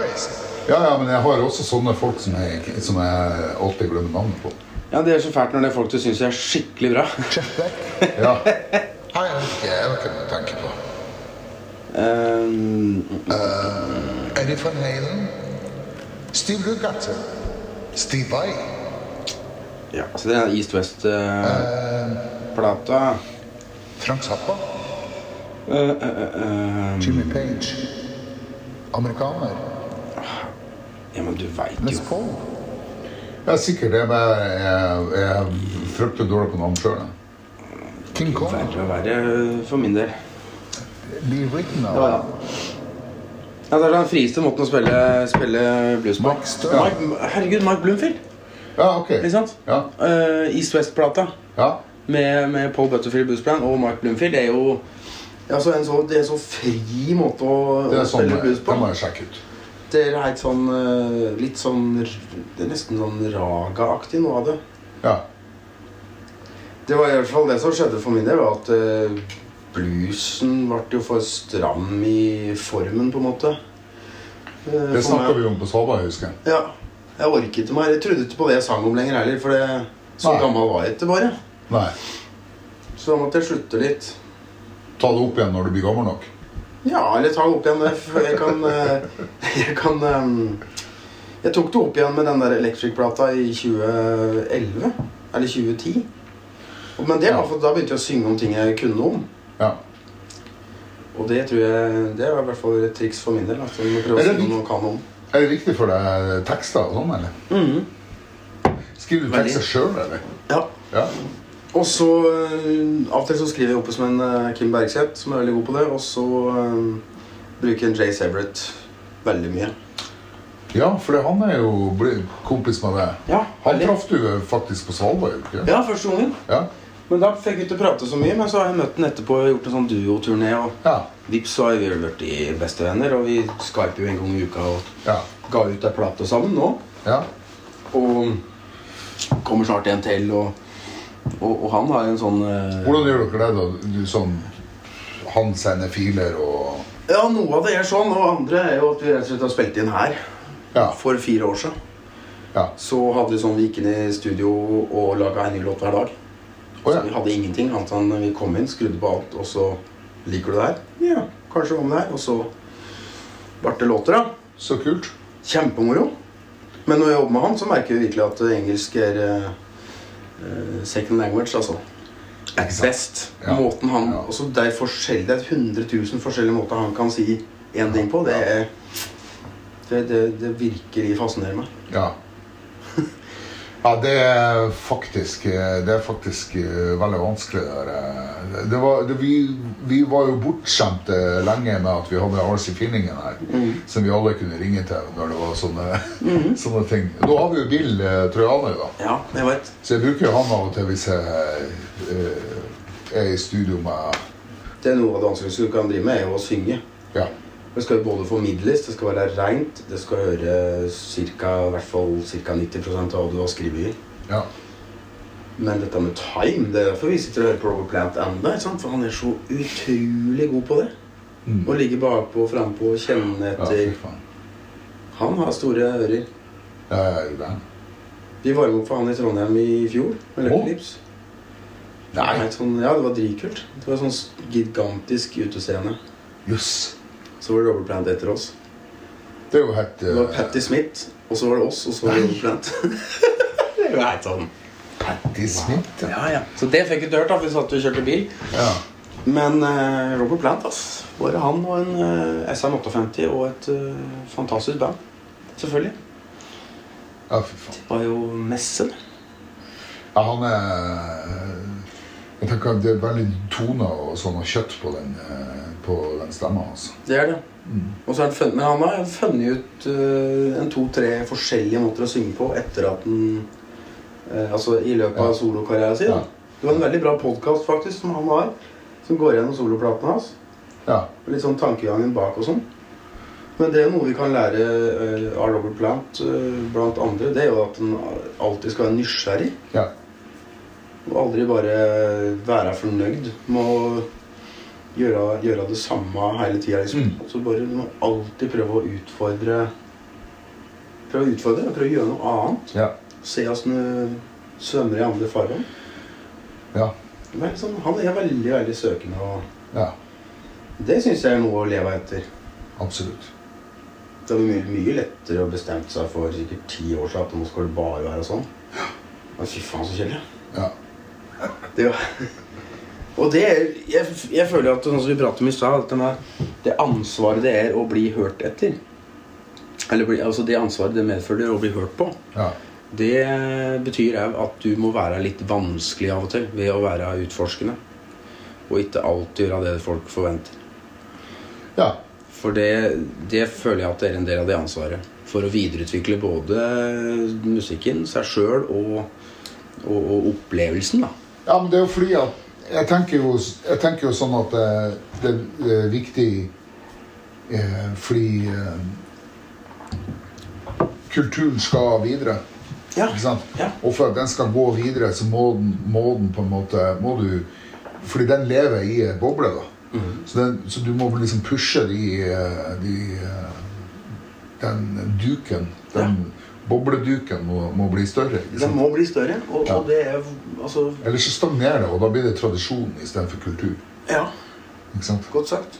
Speaker 1: Ja, ja, men jeg har også sånne folk som jeg, som jeg alltid glemmer navnet på.
Speaker 2: Ja, det er så fælt når det er folk du syns er skikkelig bra.
Speaker 1: Ja. Nei, jeg vet ikke, jeg vet ikke hva jeg tenker på.
Speaker 2: Ehm,
Speaker 1: Eddie Van Halen, Steve Lukather, Steve Vai.
Speaker 2: ja, altså det er East eh, West-plata.
Speaker 1: Eh. Frank Zappa,
Speaker 2: Eh, Ehm,
Speaker 1: Jimmy Page, amerikaner,
Speaker 2: ja, men du veit
Speaker 1: Les
Speaker 2: jo
Speaker 1: Paul. Ja, sikkert. Jeg, bare, jeg, jeg er fryktelig dårlig på navn sjøl. King Kong.
Speaker 2: Verre og verre for min del.
Speaker 1: Lee Ritna.
Speaker 2: Ja, ja. Ja, Det er den frieste måten å spille, spille blues på.
Speaker 1: Mike Stern.
Speaker 2: Mike- herregud, Mike Bloomfield.
Speaker 1: Ja, ok.
Speaker 2: Ikke sant?
Speaker 1: Ja.
Speaker 2: Eh, East West-plata
Speaker 1: ja.
Speaker 2: med, med Paul Butterfield Blues Band og Mike Bloomfield det er jo altså en så, det er en så fri måte å,
Speaker 1: Det
Speaker 2: å
Speaker 1: er sånn,
Speaker 2: spille blues på.
Speaker 1: det må jeg sjekke ut.
Speaker 2: Det er helt sånn eh, Litt sånn r- Det er nesten sånn raga-aktig noe av det.
Speaker 1: Ja.
Speaker 2: Det var i hvert fall det som skjedde for min del, var at eh, bluesen ble jo for stram i formen, på en måte. Eh,
Speaker 1: Det
Speaker 2: for
Speaker 1: snakka
Speaker 2: meg.
Speaker 1: vi om på Svalbard, jeg husker jeg.
Speaker 2: Ja. Jeg orket ikke mer. Jeg trodde ikke på det jeg sang om lenger heller, for det, så
Speaker 1: Nei.
Speaker 2: gammel var jeg ikke bare.
Speaker 1: Nei.
Speaker 2: Så da måtte jeg slutte litt.
Speaker 1: Ta det opp igjen når du blir gammel nok.
Speaker 2: Ja, eller ta opp igjen det. for Jeg kan eh, Jeg kan eh, Jeg tok det opp igjen med den der Electric-plata i 2011. Eller 2010. Og- Men det var for da begynte jeg å synge om ting jeg kunne om.
Speaker 1: Ja.
Speaker 2: Og det tror jeg Det var i hvert fall et triks for min del. Altså, å
Speaker 1: Er
Speaker 2: prøve å
Speaker 1: det
Speaker 2: synge om
Speaker 1: litt-
Speaker 2: noe jeg kan om.
Speaker 1: Er det viktig for deg tekster og sånn, eller? Skriver du
Speaker 2: Veldig.
Speaker 1: tekster sjøl, eller?
Speaker 2: Ja.
Speaker 1: Ja.
Speaker 2: Og så eh, Av og til så skriver jeg oppe som en eh, Kim Bergseth, som er veldig god på det. Og så eh, bruker jeg en Jay Severett veldig mye.
Speaker 1: Ja, for det- han er jo bli- kompis med deg.
Speaker 2: Ja,
Speaker 1: Han
Speaker 2: veldig.
Speaker 1: traff du faktisk på Svalbard, gjorde du ikke?
Speaker 2: Ja, første gangen.
Speaker 1: Ja.
Speaker 2: Men da fikk vi ikke prate så mye, men så har jeg møtt den etterpå og gjort en sånn duoturné. Og
Speaker 1: Ja.
Speaker 2: vips, så har vi blitt i bestevenner, og vi skyper jo en gang i uka og
Speaker 1: Ja.
Speaker 2: ga ut ei plate sammen nå.
Speaker 1: ja.
Speaker 2: Og um, kommer snart en til, og, og, og han har en sånn eh,
Speaker 1: Hvordan gjør dere det, da? Du sånn Han sender filer og
Speaker 2: Ja, noe av det er sånn, og andre er jo at vi rett og slett har spilt inn her
Speaker 1: Ja.
Speaker 2: for fire år siden.
Speaker 1: ja.
Speaker 2: Så hadde vi sånn vi gikk inn i studio og laga en ny låt hver dag.
Speaker 1: Å
Speaker 2: Vi
Speaker 1: ja.
Speaker 2: hadde ingenting annet enn vi kom inn, skrudde på alt, og så Liker du det her? Ja, kanskje om det her. Og så ble det låter, da.
Speaker 1: Så kult.
Speaker 2: Kjempemoro. Men når jeg jobber med han, så merker vi virkelig at eh, engelsk er eh, eh, second language, altså. At
Speaker 1: sant?
Speaker 2: best.
Speaker 1: Ja.
Speaker 2: Måten han
Speaker 1: Ja.
Speaker 2: også Det er forskjellig, det er 100 000 forskjellige måter han kan si én ting på. Det, er, det, det, det virkelig fascinerer meg.
Speaker 1: Ja. Ja, det er faktisk Det er faktisk eh, veldig vanskelig. Det, der. eh. det var, det, vi, vi var jo bortskjemte lenge med at vi hadde Arcy Finningen her, som vi alle kunne ringe til når det var sånne, sånne ting. Nå har vi jo Bill eh, Trojaner, da.
Speaker 2: Ja, jeg vet.
Speaker 1: Så jeg bruker jo han av og til hvis jeg eh, er i studio med
Speaker 2: Det er noe av det vanskeligste du kan drive med, er jo å synge.
Speaker 1: Ja.
Speaker 2: Det skal jo både formidles, det skal være rent, det skal høre cirka, i hvert fall ca. 90 av hva du har skrevet. i.
Speaker 1: ja.
Speaker 2: Men dette med time Det er derfor vi sitter og hører på Robert Plant ennå. ikke sant? For han er så utrolig god på det.
Speaker 1: Mm.
Speaker 2: Å ligge bakpå og frampå og kjenne
Speaker 1: Ja, fy
Speaker 2: etter
Speaker 1: faen.
Speaker 2: Han har store ører.
Speaker 1: Ja, jeg er jo det.
Speaker 2: Vi varma opp for han i Trondheim i fjor. Med
Speaker 1: Å.
Speaker 2: Lucky Lips.
Speaker 1: Nei,
Speaker 2: Det er et sånn, ja, det var dritkult. Det var sånn gigantisk utescene.
Speaker 1: jøss.
Speaker 2: Så var det Robert Plant etter oss.
Speaker 1: Det er jo helt
Speaker 2: Det var
Speaker 1: eh,
Speaker 2: Patti Smith, og så var det oss, og så var
Speaker 1: Nei.
Speaker 2: det Robert Plant. det er jo helt sånn
Speaker 1: Patti Smith.
Speaker 2: Ja, ja. Så det fikk vi ikke hørt, da, for vi satt og kjørte bil.
Speaker 1: Ja.
Speaker 2: Men eh, Robert Plant, ass. Bare han og en eh, SM58 og et eh, fantastisk band. Selvfølgelig.
Speaker 1: ja, fy faen.
Speaker 2: Det var jo Messen.
Speaker 1: Ja, han er Jeg tenker at det er veldig toner og sånn og kjøtt på den, eh, på den stemma hans.
Speaker 2: Det er det.
Speaker 1: Mm.
Speaker 2: Og så er han funnet, men han har funnet ut eh, en to-tre forskjellige måter å synge på etter at han eh, Altså i løpet
Speaker 1: Ja.
Speaker 2: av solokarrieren sin.
Speaker 1: Ja.
Speaker 2: Det var en veldig bra podkast faktisk som han har, som går gjennom soloplatene hans.
Speaker 1: Ja.
Speaker 2: Og Litt sånn tankegangen bak og sånn. Men det er jo noe vi kan lære eh, av Robert Plant eh, blant andre. Det er jo at en alltid skal være nysgjerrig.
Speaker 1: ja.
Speaker 2: Og aldri bare være fornøyd med å gjøre, gjøre det samme hele tida. Liksom. Så bare du må alltid prøve å utfordre Prøve å utfordre og prøve å gjøre noe annet.
Speaker 1: Ja.
Speaker 2: Se åssen du svømmer i andre farvann.
Speaker 1: Ja.
Speaker 2: Det er Sånn, han er veldig veldig søkende, og
Speaker 1: ja.
Speaker 2: det syns jeg er noe å leve etter.
Speaker 1: Absolutt.
Speaker 2: Det var mye, mye lettere å bestemme seg for sikkert ti år siden at nå skal det bare være sånn. Men fy faen, så kjedelig.
Speaker 1: Ja.
Speaker 2: Det er jo- Og det er, jeg, jeg føler at sånn som vi pratet om i stad, at den er- det ansvaret det er å bli hørt etter Eller bli, altså det ansvaret det medfølger å bli hørt på,
Speaker 1: Ja.
Speaker 2: det betyr òg at du må være litt vanskelig av og til ved å være utforskende. Og ikke alltid gjøre det folk forventer.
Speaker 1: ja.
Speaker 2: For det, det føler jeg at det er en del av det ansvaret. For å videreutvikle både musikken, seg sjøl og, og, og opplevelsen, da.
Speaker 1: Ja, men det er jo fordi at Jeg tenker jo, jeg tenker jo sånn at eh, det er viktig eh, fordi eh, kulturen skal videre.
Speaker 2: Ja.
Speaker 1: Ikke sant?
Speaker 2: Ja.
Speaker 1: Og for at den skal gå videre, så må den, må den på en måte må du, Fordi den lever i en boble, da. Så, den, så du må liksom pushe de, eh, de eh, Den duken, den bobleduken, må, må bli større. Ikke
Speaker 2: Den
Speaker 1: sant?
Speaker 2: må bli større, og,
Speaker 1: Ja.
Speaker 2: og det er altså
Speaker 1: Ellers så stagnerer det, og da blir det tradisjon istedenfor kultur.
Speaker 2: Ja,
Speaker 1: Ikke sant?
Speaker 2: godt sagt.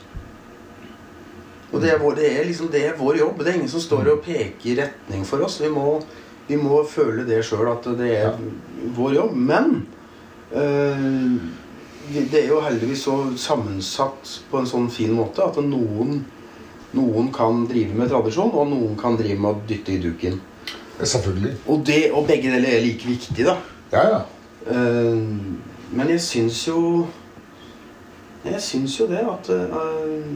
Speaker 2: Og det er, vår, det er liksom det er vår jobb. Det er ingen som står og peker retning for oss. Vi må, vi må føle det sjøl at det er
Speaker 1: Ja.
Speaker 2: vår jobb. Men eh, vi- det er jo heldigvis så sammensatt på en sånn fin måte at noen, noen kan drive med tradisjon, og noen kan drive med å dytte i duken.
Speaker 1: Ja, Selvfølgelig.
Speaker 2: Og, det, og begge deler er like viktig, da.
Speaker 1: Ja, ja.
Speaker 2: Eh, men jeg syns jo Jeg syns jo det at eh,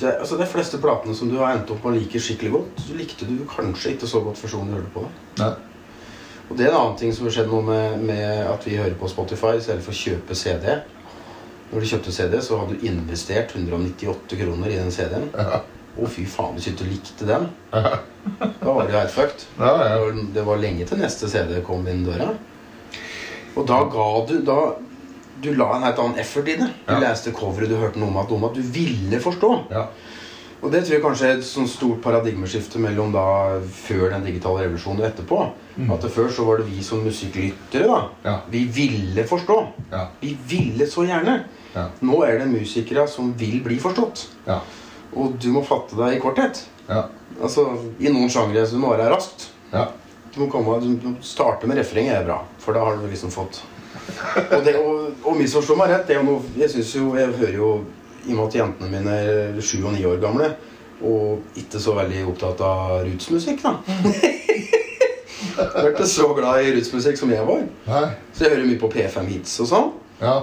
Speaker 2: det, altså De fleste platene som du har endt opp med å like skikkelig godt, så likte du kanskje ikke så godt før sånn du hørte på det.
Speaker 1: Nei.
Speaker 2: Og det er en annen ting som har skjedd nå med, med at vi hører på Spotify i stedet for å kjøpe CD. Når du kjøpte CD, så hadde du investert 198 kroner i den CD-en.
Speaker 1: Ja.
Speaker 2: Å, fy faen, hvis du ikke likte den,
Speaker 1: Ja.
Speaker 2: da var du helt fucked.
Speaker 1: Ja,
Speaker 2: Det
Speaker 1: ja.
Speaker 2: var, det var lenge til neste CD kom inn døra. Og da ga du da, Du la en helt annen effort i det. Du
Speaker 1: Ja.
Speaker 2: leste coveret, du hørte noe om at, om at du ville forstå.
Speaker 1: ja.
Speaker 2: Og det tror jeg kanskje er et sånt stort paradigmeskifte mellom da før den digitale revolusjonen og etterpå. At det før så var det vi som musikklyttere, da.
Speaker 1: Ja.
Speaker 2: Vi ville forstå.
Speaker 1: Ja.
Speaker 2: Vi ville så gjerne.
Speaker 1: Ja.
Speaker 2: Nå er det musikere som vil bli forstått.
Speaker 1: Ja.
Speaker 2: Og du må fatte deg i korthet.
Speaker 1: Ja.
Speaker 2: Altså, I noen sjangre så du må være raskt.
Speaker 1: Ja.
Speaker 2: Du må komme, du må starte med refrenget er bra, for da har du liksom fått Og, det, og, og misforstå meg rett, det er jo noe Jeg synes jo, jeg hører jo I og med at jentene mine er sju og ni år gamle, og ikke så veldig opptatt av rootsmusikk, da. Jeg ble ikke så glad i rootsmusikk som jeg var.
Speaker 1: Nei.
Speaker 2: Så jeg hører mye på P5 Hits og sånn.
Speaker 1: Ja.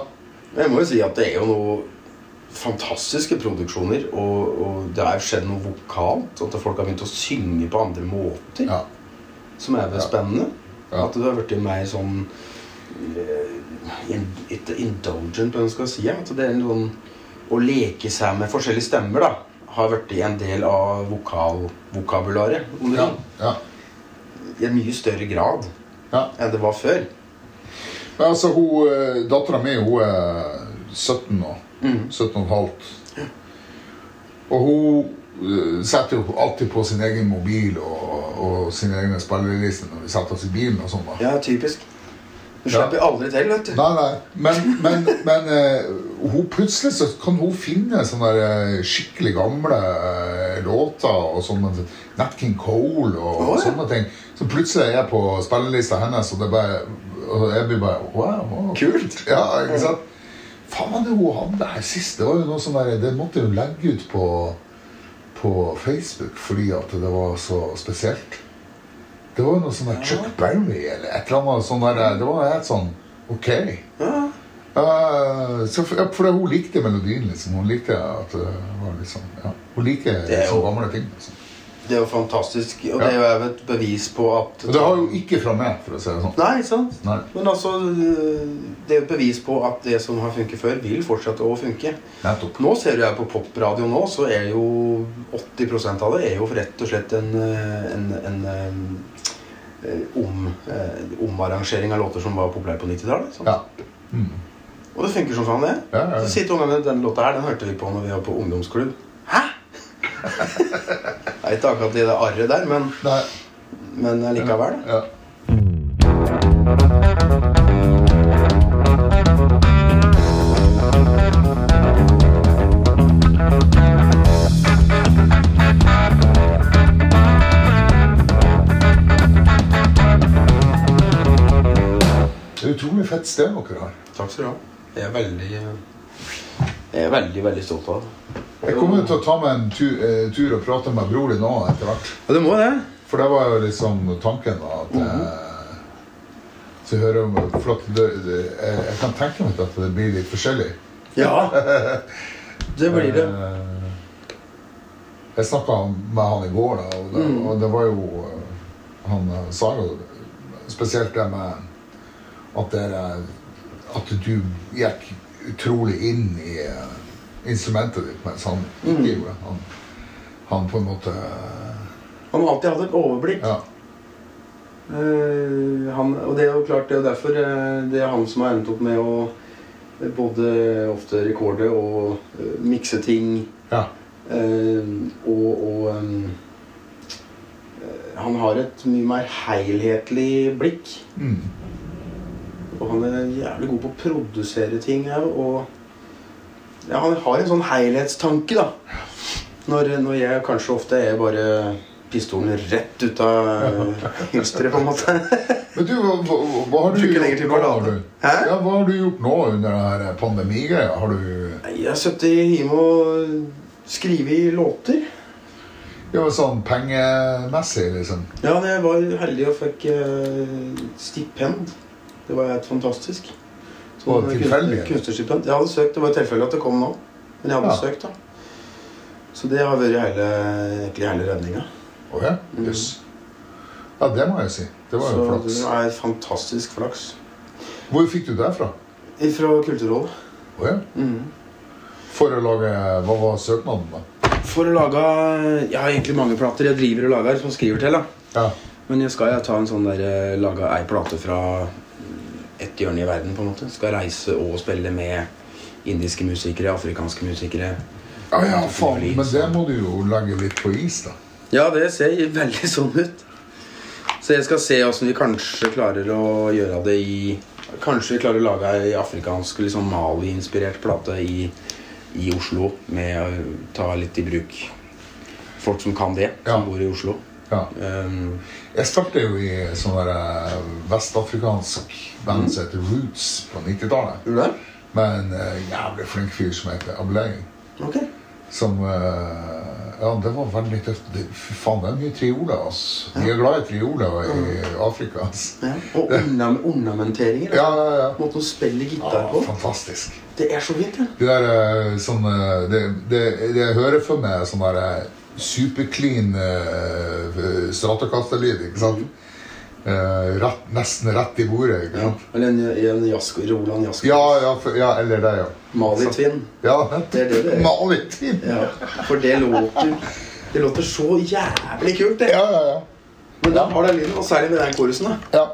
Speaker 2: Men jeg må jo si at det er jo noe fantastiske produksjoner, og, og det er skjedd noe vokalt. At folk har begynt å synge på andre måter
Speaker 1: Ja.
Speaker 2: som er vel
Speaker 1: Ja.
Speaker 2: spennende.
Speaker 1: Ja.
Speaker 2: At du har blitt mer sånn eh, in- Ikke indulgent, hva man skal si. ja. At det er en sånn Å leke seg med forskjellige stemmer da har blitt en del av vokalvokabularet. Om du
Speaker 1: Ja.
Speaker 2: vil.
Speaker 1: ja.
Speaker 2: I en mye større grad
Speaker 1: ja.
Speaker 2: enn det var før.
Speaker 1: Men altså, hun dattera mi, hun er 17 nå. 17 og et halvt. Og hun eh, setter jo alltid på sin egen mobil og, og sine egne spillelister når vi setter oss i bilen og sånn, da.
Speaker 2: Ja, typisk. Du
Speaker 1: Ja.
Speaker 2: slipper aldri til, vet du.
Speaker 1: Nei, nei. Men, men, men eh, hun plutselig så kan hun finne sånne der, eh, skikkelig gamle eh, låter og sånne Nat King Cole og,
Speaker 2: Å, ja.
Speaker 1: sånne ting. Så plutselig er jeg på spillelista hennes, og, det er bare, og jeg blir bare Wow. wow,
Speaker 2: Kult.
Speaker 1: Ja, ikke sant? Faen, hva er det hun hadde her sist? Det var jo noe sånn der Det måtte hun legge ut på på Facebook fordi at det var så spesielt. Det var jo noe sånn der Chuck Berry eller et eller annet sånn der Det var helt sånn Ok.
Speaker 2: Ja.
Speaker 1: Eh, så for, ja, for det, hun likte melodien, liksom. Hun likte at det var litt sånn ja. Hun liker
Speaker 2: Det er
Speaker 1: sånne
Speaker 2: jo-
Speaker 1: gamle ting. Liksom.
Speaker 2: Det er jo fantastisk, og
Speaker 1: Ja.
Speaker 2: det er jo et bevis på at
Speaker 1: Og det har jo ikke fra meg, for å si det sånn.
Speaker 2: Nei, ikke sant?
Speaker 1: Nei.
Speaker 2: Men altså, det er et bevis på at det som har funket før, vil fortsette å funke.
Speaker 1: Nettopp.
Speaker 2: Nå ser du her på popradio nå, så er jo 80 av det er jo rett og slett en, eh, en, en eh, om, eh, omarrangering av låter som var populære på 90-tallet. ikke sant?
Speaker 1: Ja.
Speaker 2: Og liksom. Og det funker som faen, det.
Speaker 1: Ja, ja.
Speaker 2: Så sier til ungene den låta her, den hørte vi på når vi var på ungdomsklubb. Hæ?! det er ikke akkurat i det arret der, men,
Speaker 1: Nei.
Speaker 2: men likevel.
Speaker 1: Ja. Det er utrolig fett sted dere har.
Speaker 2: Takk skal du ha. Jeg er veldig eh, Jeg er veldig, veldig stolt av det.
Speaker 1: Jeg kommer jo til å ta meg en tur, eh, tur og prate med bror din nå etter hvert.
Speaker 2: Ja, du må det.
Speaker 1: For det var jo liksom tanken da, at
Speaker 2: Mhm.
Speaker 1: eh, Så jeg hører om For at det, det, jeg, jeg kan tenke meg at det blir litt forskjellig.
Speaker 2: Ja. Det blir det.
Speaker 1: Eh, jeg snakka med han i går, da, og det,
Speaker 2: Mm.
Speaker 1: og det var jo eh, Han eh, sa jo spesielt det med at dere At du gikk utrolig inn i eh, instrumentet ditt, mens han ikke
Speaker 2: Mhm.
Speaker 1: gjorde det. Han, han på en måte eh,
Speaker 2: Han har alltid hatt et overblikk.
Speaker 1: Ja.
Speaker 2: Eh, han, og det er jo klart, det er jo derfor eh, det er han som har endt opp med å eh, både ofte rekorde og eh, mikse ting
Speaker 1: ja.
Speaker 2: eh, og, og em, eh, han har et mye mer helhetlig blikk.
Speaker 1: Mm.
Speaker 2: Og han er jævlig god på å produsere ting òg. Og ja, han har en sånn helhetstanke, da. Når, når jeg kanskje ofte er bare pistolen rett ut av eh, hylsteret, på en måte.
Speaker 1: Men du, hva, hva- hva har du
Speaker 2: Bruker
Speaker 1: gjort
Speaker 2: lenger tid
Speaker 1: nå?
Speaker 2: på å
Speaker 1: Har
Speaker 2: lade.
Speaker 1: du?
Speaker 2: Hæ?
Speaker 1: Ja, hva har du gjort nå under den her pandemigreia? Har du
Speaker 2: Nei, Jeg har sittet i hjemme og skrevet låter.
Speaker 1: ja, men sånn pengemessig, liksom?
Speaker 2: Ja, men jeg var heldig og fikk eh, stipend. Det var helt fantastisk.
Speaker 1: Var det
Speaker 2: Sånn
Speaker 1: tilfeldig, eller?
Speaker 2: kunst- Kunstnerstipend. Jeg hadde søkt, det var tilfeldig at det kom nå. Men jeg hadde
Speaker 1: Ja.
Speaker 2: søkt, da. Så det har vært hele, egentlig hele redninga.
Speaker 1: Å ja? Jøss. Ja, det må jeg si. Det var jo
Speaker 2: Mm. Så det
Speaker 1: flaks.
Speaker 2: er fantastisk flaks.
Speaker 1: Hvor fikk du det fra?
Speaker 2: Fra Kulturrådet.
Speaker 1: Å ja?
Speaker 2: Mm.
Speaker 1: For å lage Hva var søknaden, da?
Speaker 2: For å lage Jeg har egentlig mange plater jeg driver og lager, som jeg skriver til. da
Speaker 1: Ja.
Speaker 2: Men jeg skal jeg ta en sånn der eh, Lage ei plate fra et hjørne i verden, på en måte. Skal reise og spille med indiske musikere, afrikanske musikere.
Speaker 1: Ja, ja, faen. Men det må du jo legge litt på is, da.
Speaker 2: Ja, det ser veldig sånn ut. Så jeg skal se åssen vi kanskje klarer å gjøre det i Kanskje vi klarer å lage ei afrikansk, liksom Mali-inspirert plate i, i Oslo. Med å ta litt i bruk folk som kan det,
Speaker 1: Ja.
Speaker 2: som bor i Oslo.
Speaker 1: Ja.
Speaker 2: Um,
Speaker 1: Jeg startet jo i sånn der eh, vestafrikansk band
Speaker 2: Mm.
Speaker 1: som heter Roots på 90-tallet.
Speaker 2: Gjorde du det?
Speaker 1: Med en eh, jævlig flink fyr som heter Ablay.
Speaker 2: Ok.
Speaker 1: Som eh, Ja, det var veldig tøft. Det- Fy faen, det er mye trioler, altså. Vi er glad i trioler i Afrika, altså.
Speaker 2: Ja. Og ornam ornamenteringer.
Speaker 1: Ja, ja, ja.
Speaker 2: Måten å spille gitar
Speaker 1: ja
Speaker 2: på.
Speaker 1: fantastisk.
Speaker 2: Det er så fint, ja.
Speaker 1: Det der eh, sånn eh, Det, det, det jeg hører for meg, er sånn der eh, superclean uh, stratokasterlyd, ikke sant? Eh, rett, nesten rett i bordet, ikke sant?
Speaker 2: Eller en, en jasko, Roland Jasko.
Speaker 1: Ja, ja, for, ja eller det, ja.
Speaker 2: Mali-tvinn.
Speaker 1: Ja,
Speaker 2: Det er det det er.
Speaker 1: Malitvin!
Speaker 2: Ja. For det låter Det låter så jævlig kult, det.
Speaker 1: Ja, ja, ja.
Speaker 2: Men da har det lyden, og særlig med den korusen, da.
Speaker 1: Ja.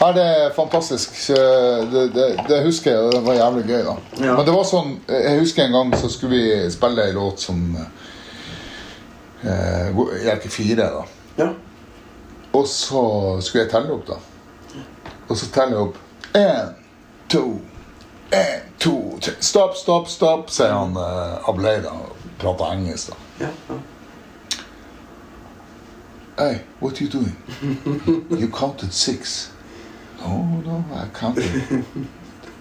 Speaker 1: Nei, det er fantastisk. Så Det, det, det husker jeg, og det var jævlig gøy, da.
Speaker 2: Ja.
Speaker 1: Men det var sånn Jeg husker en gang så skulle vi spille ei låt som eh, hvor- Jeg er ikke fire, da.
Speaker 2: Ja.
Speaker 1: Og så skulle jeg telle opp, da. Og så teller jeg opp én, to, én, to, tre Stopp, stopp, stopp, sier han eh, Ablay, da. og Prater engelsk, da.
Speaker 2: ja, ja.
Speaker 1: Hey, what are you doing? you counted six. No, no, I counted.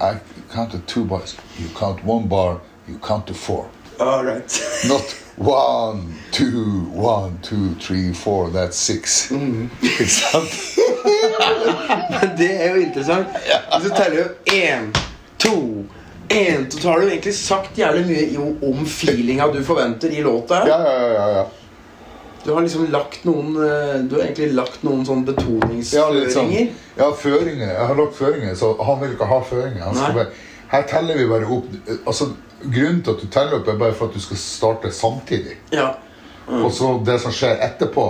Speaker 1: I counted two bars. You count one bar, you count to four.
Speaker 2: All right.
Speaker 1: Not one, two, one, two, three, four, that's six. Ikke sant?
Speaker 2: Det er jo interessant. Hvis du teller opp én, to, én Så har du egentlig sagt jævlig mye jo om feelinga du forventer i låta. her.
Speaker 1: Ja, ja, ja, ja, ja.
Speaker 2: Du har liksom lagt noen eh, Du har egentlig lagt noen sånn
Speaker 1: Ja, litt sånn.
Speaker 2: betoningsføringer.
Speaker 1: Ja, føringer. Jeg har lagt føringer, så han vil ikke ha føringer. Han skal
Speaker 2: Nei.
Speaker 1: bare, her teller vi bare opp. Altså, grunnen til at du teller opp, er bare for at du skal starte samtidig.
Speaker 2: Ja.
Speaker 1: Og så det som skjer etterpå,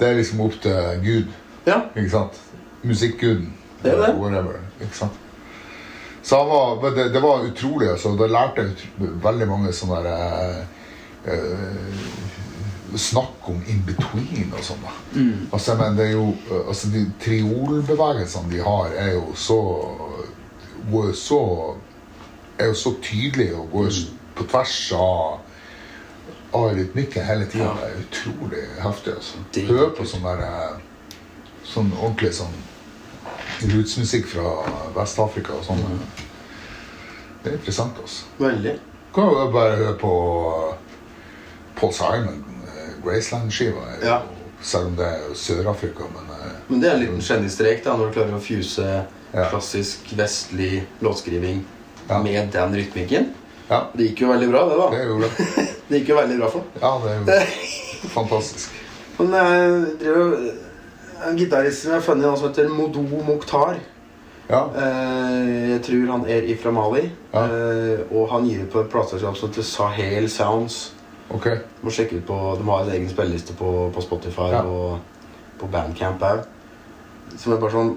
Speaker 1: det er liksom opp til Gud.
Speaker 2: ja.
Speaker 1: Ikke sant? Musikkguden. Eh,
Speaker 2: Det er det.
Speaker 1: Whatever. Ikke sant? Så jeg var, men det, det var utrolig. Altså. Da lærte jeg ut- veldig mange sånne der, eh, eh, Snakk om in between og sånn. da.
Speaker 2: Mm.
Speaker 1: Altså, jeg mener, det er jo, eh, altså, de triolbevegelsene de har, er jo så går jo så, er jo så tydelige og går jo
Speaker 2: Mm.
Speaker 1: s- på tvers av av rytmikken hele tida.
Speaker 2: Ja.
Speaker 1: Det er utrolig heftig. altså.
Speaker 2: Dritkult.
Speaker 1: Hør på sånn der eh, sånn ordentlig sånn rootsmusikk fra Vest-Afrika og sånn. Det er interessant, altså.
Speaker 2: Veldig.
Speaker 1: Kan jo bare høre på Paul Simon, eh, Graceland-skiva. er jo-
Speaker 2: Ja.
Speaker 1: Selv om det er jo Sør-Afrika, men eh,
Speaker 2: Men det er en liten genistrek da, når du klarer å fuse
Speaker 1: Ja.
Speaker 2: klassisk vestlig låtskriving
Speaker 1: Ja.
Speaker 2: med den rytmikken.
Speaker 1: ja.
Speaker 2: Det gikk jo veldig bra, det,
Speaker 1: Det
Speaker 2: da.
Speaker 1: er jo det.
Speaker 2: Det gikk jo veldig bra for
Speaker 1: Ja, det er jo fantastisk.
Speaker 2: Men eh, jeg drev jo eh, En gitarist som jeg har funnet, han som heter Modo Mokhtar.
Speaker 1: Ja.
Speaker 2: Eh, jeg tror han er ifra Mali.
Speaker 1: Ja.
Speaker 2: Eh, og han gir ut på et plateselskap som heter Sahel Sounds.
Speaker 1: Ok.
Speaker 2: Må sjekke ut på, De har en egen spilleliste på, på Spotify
Speaker 1: Ja.
Speaker 2: og på Bandcamp òg. Som er bare sånn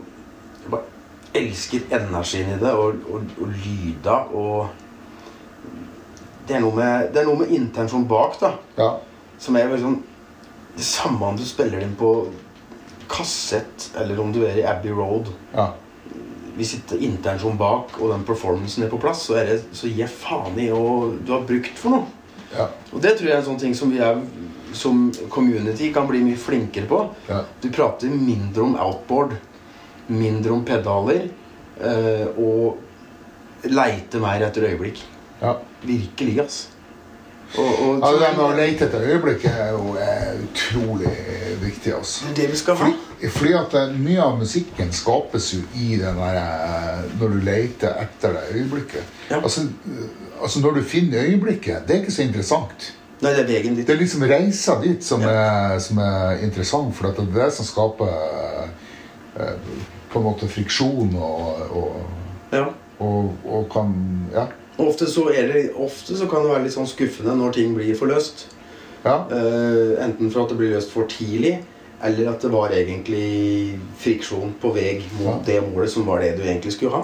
Speaker 2: Jeg bare elsker energien i det, og, og, og lyda og det er, noe med, det er noe med intensjon bak, da.
Speaker 1: Ja.
Speaker 2: Som er veldig sånn Det samme om du spiller den på kassett, eller om du er i Abbey Road.
Speaker 1: Ja.
Speaker 2: Hvis ikke intensjonen bak og den performancen er på plass, så er det så gi faen i hva du har brukt for noe.
Speaker 1: Ja.
Speaker 2: Og det tror jeg er en sånn ting som vi er, som community kan bli mye flinkere på.
Speaker 1: Ja.
Speaker 2: Du prater mindre om outboard, mindre om pedaler, eh, og leite mer etter øyeblikk.
Speaker 1: ja.
Speaker 2: Virkelig, ass. Og, og,
Speaker 1: ja det der med å lete etter øyeblikket er jo eh, utrolig viktig, altså.
Speaker 2: Det er det vi skal ha.
Speaker 1: Fordi, fordi at eh, mye av musikken skapes jo i den der eh, Når du leter etter det øyeblikket.
Speaker 2: Ja.
Speaker 1: Altså, eh, altså når du finner øyeblikket, det er ikke så interessant.
Speaker 2: Nei, det er veien dit.
Speaker 1: Det er liksom reisa dit som, er, som er interessant, for at det er det som skaper eh, på en måte friksjon og, og,
Speaker 2: Ja.
Speaker 1: og, og kan Ja.
Speaker 2: Og ofte så, er det, ofte så kan det være litt sånn skuffende når ting blir for løst.
Speaker 1: ja.
Speaker 2: Eh, enten for at det blir løst for tidlig, eller at det var egentlig friksjon på vei mot det målet som var det du egentlig skulle ha.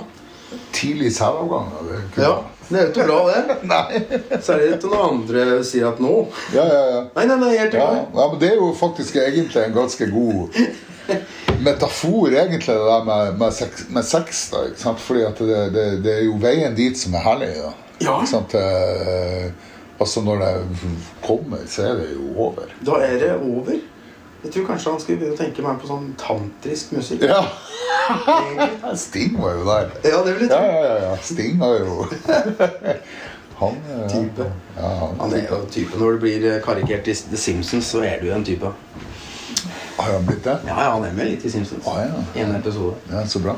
Speaker 1: Tidlig særavgang. da, det kunne-
Speaker 2: Ja, det er jo ikke bra, det.
Speaker 1: Nei.
Speaker 2: Særlig etter når andre sier at nå
Speaker 1: Ja, ja, ja.
Speaker 2: Nei, nei, nei, jeg er
Speaker 1: Ja,
Speaker 2: tilbake.
Speaker 1: ja, men det er jo faktisk egentlig en ganske god metafor, egentlig, det der med, med, sex, med sex. da, ikke sant? Fordi at det, det, det er jo veien dit som er herlig. da.
Speaker 2: Ja.
Speaker 1: Ikke sant? Eh, altså, når det kommer, så er det jo over.
Speaker 2: Da er det over. Jeg tror kanskje han skulle begynne å tenke mer på sånn tantrisk musikk.
Speaker 1: Ja! Sting var jo der.
Speaker 2: Ja, det vil jeg
Speaker 1: Ja,
Speaker 2: tro.
Speaker 1: ja, ja. ja. Sting var jo Han eh,
Speaker 2: Type.
Speaker 1: Ja, han
Speaker 2: Han er jo en type. Når du blir karikert i The Simpsons, så er du jo en type.
Speaker 1: har han blitt det?
Speaker 2: Ja, ja, han er med litt i Simpsons.
Speaker 1: Ah, ja.
Speaker 2: I en episode.
Speaker 1: Ja, så bra.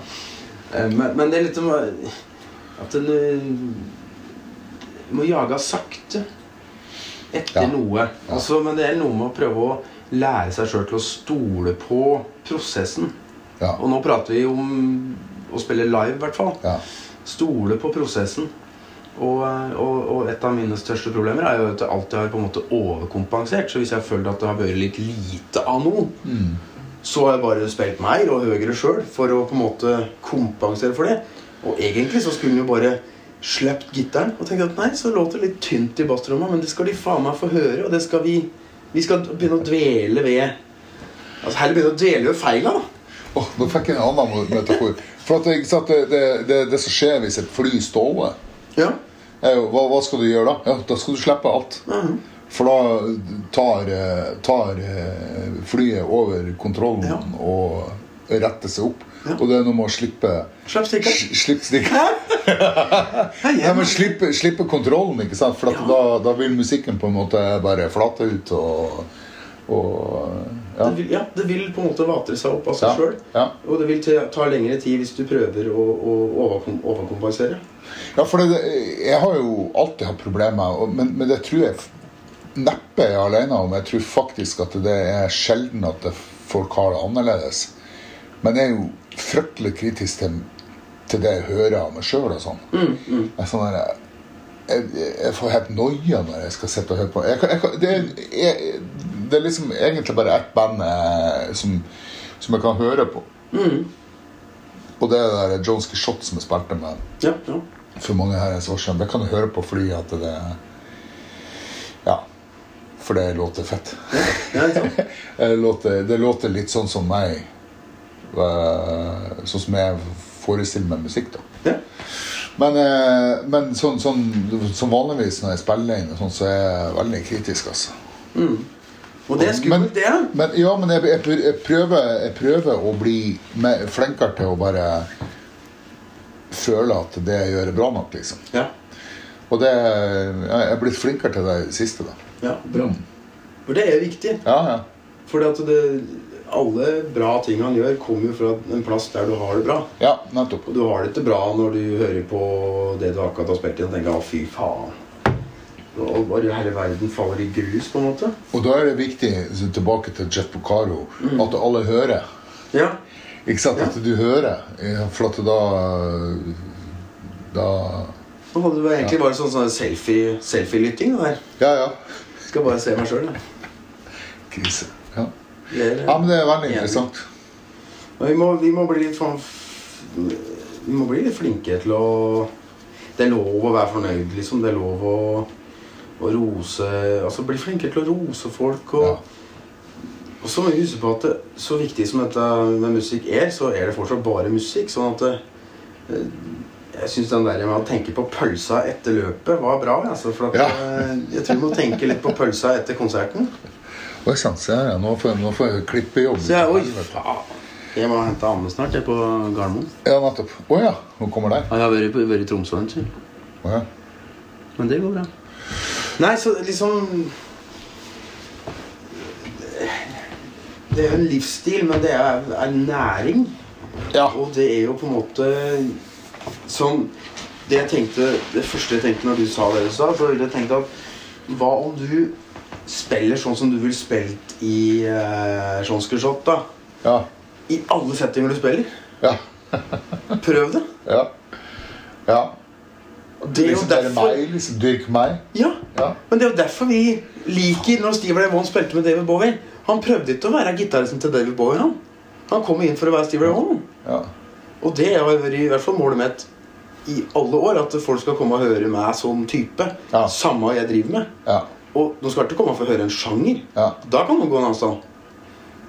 Speaker 2: Eh, Men, men det er litt om eh, at en eh, må jage sakte etter
Speaker 1: Ja.
Speaker 2: noe. Altså, men det er noe med å prøve å lære seg sjøl til å stole på prosessen.
Speaker 1: Ja.
Speaker 2: Og nå prater vi om å spille live, i hvert fall.
Speaker 1: ja.
Speaker 2: Stole på prosessen. Og, eh, og, og et av mine største problemer er jo at jeg alltid har på en måte overkompensert. Så hvis jeg har følt at det har vært litt lite av noe,
Speaker 1: Mm.
Speaker 2: så har jeg bare spilt meg og høyere sjøl for å på en måte kompensere for det. Og egentlig så skulle han jo bare sluppet gitaren og tenkt at nei, så låter det litt tynt i bassrommet, men det skal de faen meg få høre, og det skal vi Vi skal begynne å dvele ved Altså heller begynne å dvele ved feila, da.
Speaker 1: Åh, nå fikk jeg en annen metafor. For at, ikke sant, det, det, det, det som skjer hvis et fly ståler,
Speaker 2: Ja.
Speaker 1: er jo hva, hva skal du gjøre da? Ja, da skal du slippe alt.
Speaker 2: Mhm.
Speaker 1: For da tar, eh, tar eh, flyet over kontrollen
Speaker 2: Ja.
Speaker 1: og retter seg opp.
Speaker 2: Ja.
Speaker 1: Og det er noe med å slippe
Speaker 2: Slipp stikkeren.
Speaker 1: sli- Slipp stikk.
Speaker 2: Hei,
Speaker 1: Nei,
Speaker 2: hjem.
Speaker 1: men slippe, slippe kontrollen, ikke sant? For at
Speaker 2: Ja.
Speaker 1: da, da vil musikken på en måte bare flate ut og, og
Speaker 2: Det
Speaker 1: ja.
Speaker 2: vil, ja, det vil på en måte vatre seg opp av seg
Speaker 1: Ja,
Speaker 2: sjøl.
Speaker 1: ja.
Speaker 2: Og det vil ta- ta lengre tid hvis du prøver å, å overkom overkompensere.
Speaker 1: Ja, for det, jeg har jo alltid hatt problemer, og- men, men det tror jeg f- neppe jeg er alene om. Jeg tror faktisk at det er sjelden at det, folk har det annerledes. Men jeg er jo fryktelig kritisk til, til det jeg hører av meg sjøl og sånn. Jeg, er sånn der, jeg, jeg får helt noia når jeg skal sitte og høre på. Jeg, kan- jeg, kan- det, er- jeg, det er liksom egentlig bare ett band eh, som, som jeg kan høre på. Og det er det der Jones Quijote som jeg spilte med
Speaker 2: Ja, ja.
Speaker 1: for mange herrens år siden. Det kan du høre på fly at det Ja. For det låter fett.
Speaker 2: ja ikke sant?
Speaker 1: Det låter, det låter litt sånn som meg. eh, Sånn som jeg forestiller meg musikk, da.
Speaker 2: ja.
Speaker 1: Men, eh, men sånn, sånn, som vanligvis når jeg spiller inn, og sånn, så er jeg veldig kritisk, altså.
Speaker 2: Og det er
Speaker 1: Men,
Speaker 2: skummelt, det. ja.
Speaker 1: men, ja, men jeg, jeg, pr- jeg, prøver, jeg prøver å bli mer, flinkere til å bare føle at det jeg gjør, er bra nok, liksom.
Speaker 2: Ja.
Speaker 1: Og det, jeg er blitt flinkere til det siste, da.
Speaker 2: ja. Bra. For det er viktig.
Speaker 1: Ja, ja.
Speaker 2: For alle bra ting han gjør, kommer jo fra en plass der du har det bra.
Speaker 1: ja nettopp.
Speaker 2: Og du har det ikke bra når du hører på det du akkurat har spilt inn, og tenker 'å, fy faen'. Og bare hele verden faller i grus, på en måte.
Speaker 1: Og da er det viktig, så tilbake til Jeff Bocaro, at alle hører.
Speaker 2: Mm. Ja.
Speaker 1: Ikke sant? At du hører. Ja, For at da Da
Speaker 2: Nå hadde det egentlig bare sånn, sånn selfie- selfie-lytting. det der.
Speaker 1: Ja, ja.
Speaker 2: Skal bare se meg sjøl, jeg.
Speaker 1: Krise. Ja.
Speaker 2: Det er-
Speaker 1: ja, men det er veldig interessant.
Speaker 2: Men vi må, vi må bli litt sånn Vi må bli litt flinke til å Det er lov å være fornøyd, liksom. Det er lov å, å rose Altså bli flinkere til å rose folk. Og,
Speaker 1: Ja.
Speaker 2: og så må vi huske på at det, så viktig som dette med musikk er, så er det fortsatt bare musikk. Sånn at eh, jeg syns den der med å tenke på pølsa etter løpet var bra. Altså, for at,
Speaker 1: Ja.
Speaker 2: eh, jeg tror vi må tenke litt på pølsa etter konserten.
Speaker 1: Oi sann, se her. ja. Nå får jeg, nå får jeg klippejobb.
Speaker 2: Så jeg, oi, faen. Jeg må hente Anne snart, jeg, på Gardermoen.
Speaker 1: Ja, nettopp. Å ja. Nå kommer den.
Speaker 2: Ja, jeg har vært, på- vært i Tromsø en tur.
Speaker 1: Å, ja.
Speaker 2: Men det går bra. Nei, så liksom Det er jo en livsstil, men det er, er næring.
Speaker 1: ja.
Speaker 2: Og det er jo på en måte som Det jeg tenkte, det første jeg tenkte når du sa det du sa, så ville jeg tenkt at hva om du spiller sånn som du ville spilt i eh, Jean Scushot, da?
Speaker 1: Ja.
Speaker 2: I alle settinger du spiller.
Speaker 1: Ja.
Speaker 2: Prøv det.
Speaker 1: Ja. ja.
Speaker 2: Det er jo
Speaker 1: Liksom bare
Speaker 2: derfor
Speaker 1: meg. Liksom dyrk meg.
Speaker 2: Ja,
Speaker 1: Ja.
Speaker 2: Men det er jo derfor vi liker når Steve Ray Vaughan spilte med David Bowie. Han prøvde ikke å være gitaristen til David Bowie. Han Han kom inn for å være Steve Ray Vaughan.
Speaker 1: Ja.
Speaker 2: Og det har vært i hvert fall målet mitt i alle år. At folk skal komme og høre meg som type.
Speaker 1: Ja.
Speaker 2: Samme hva jeg driver med.
Speaker 1: Ja.
Speaker 2: Og de skal ikke komme og få høre en sjanger.
Speaker 1: Ja.
Speaker 2: Da kan de gå en annen sted.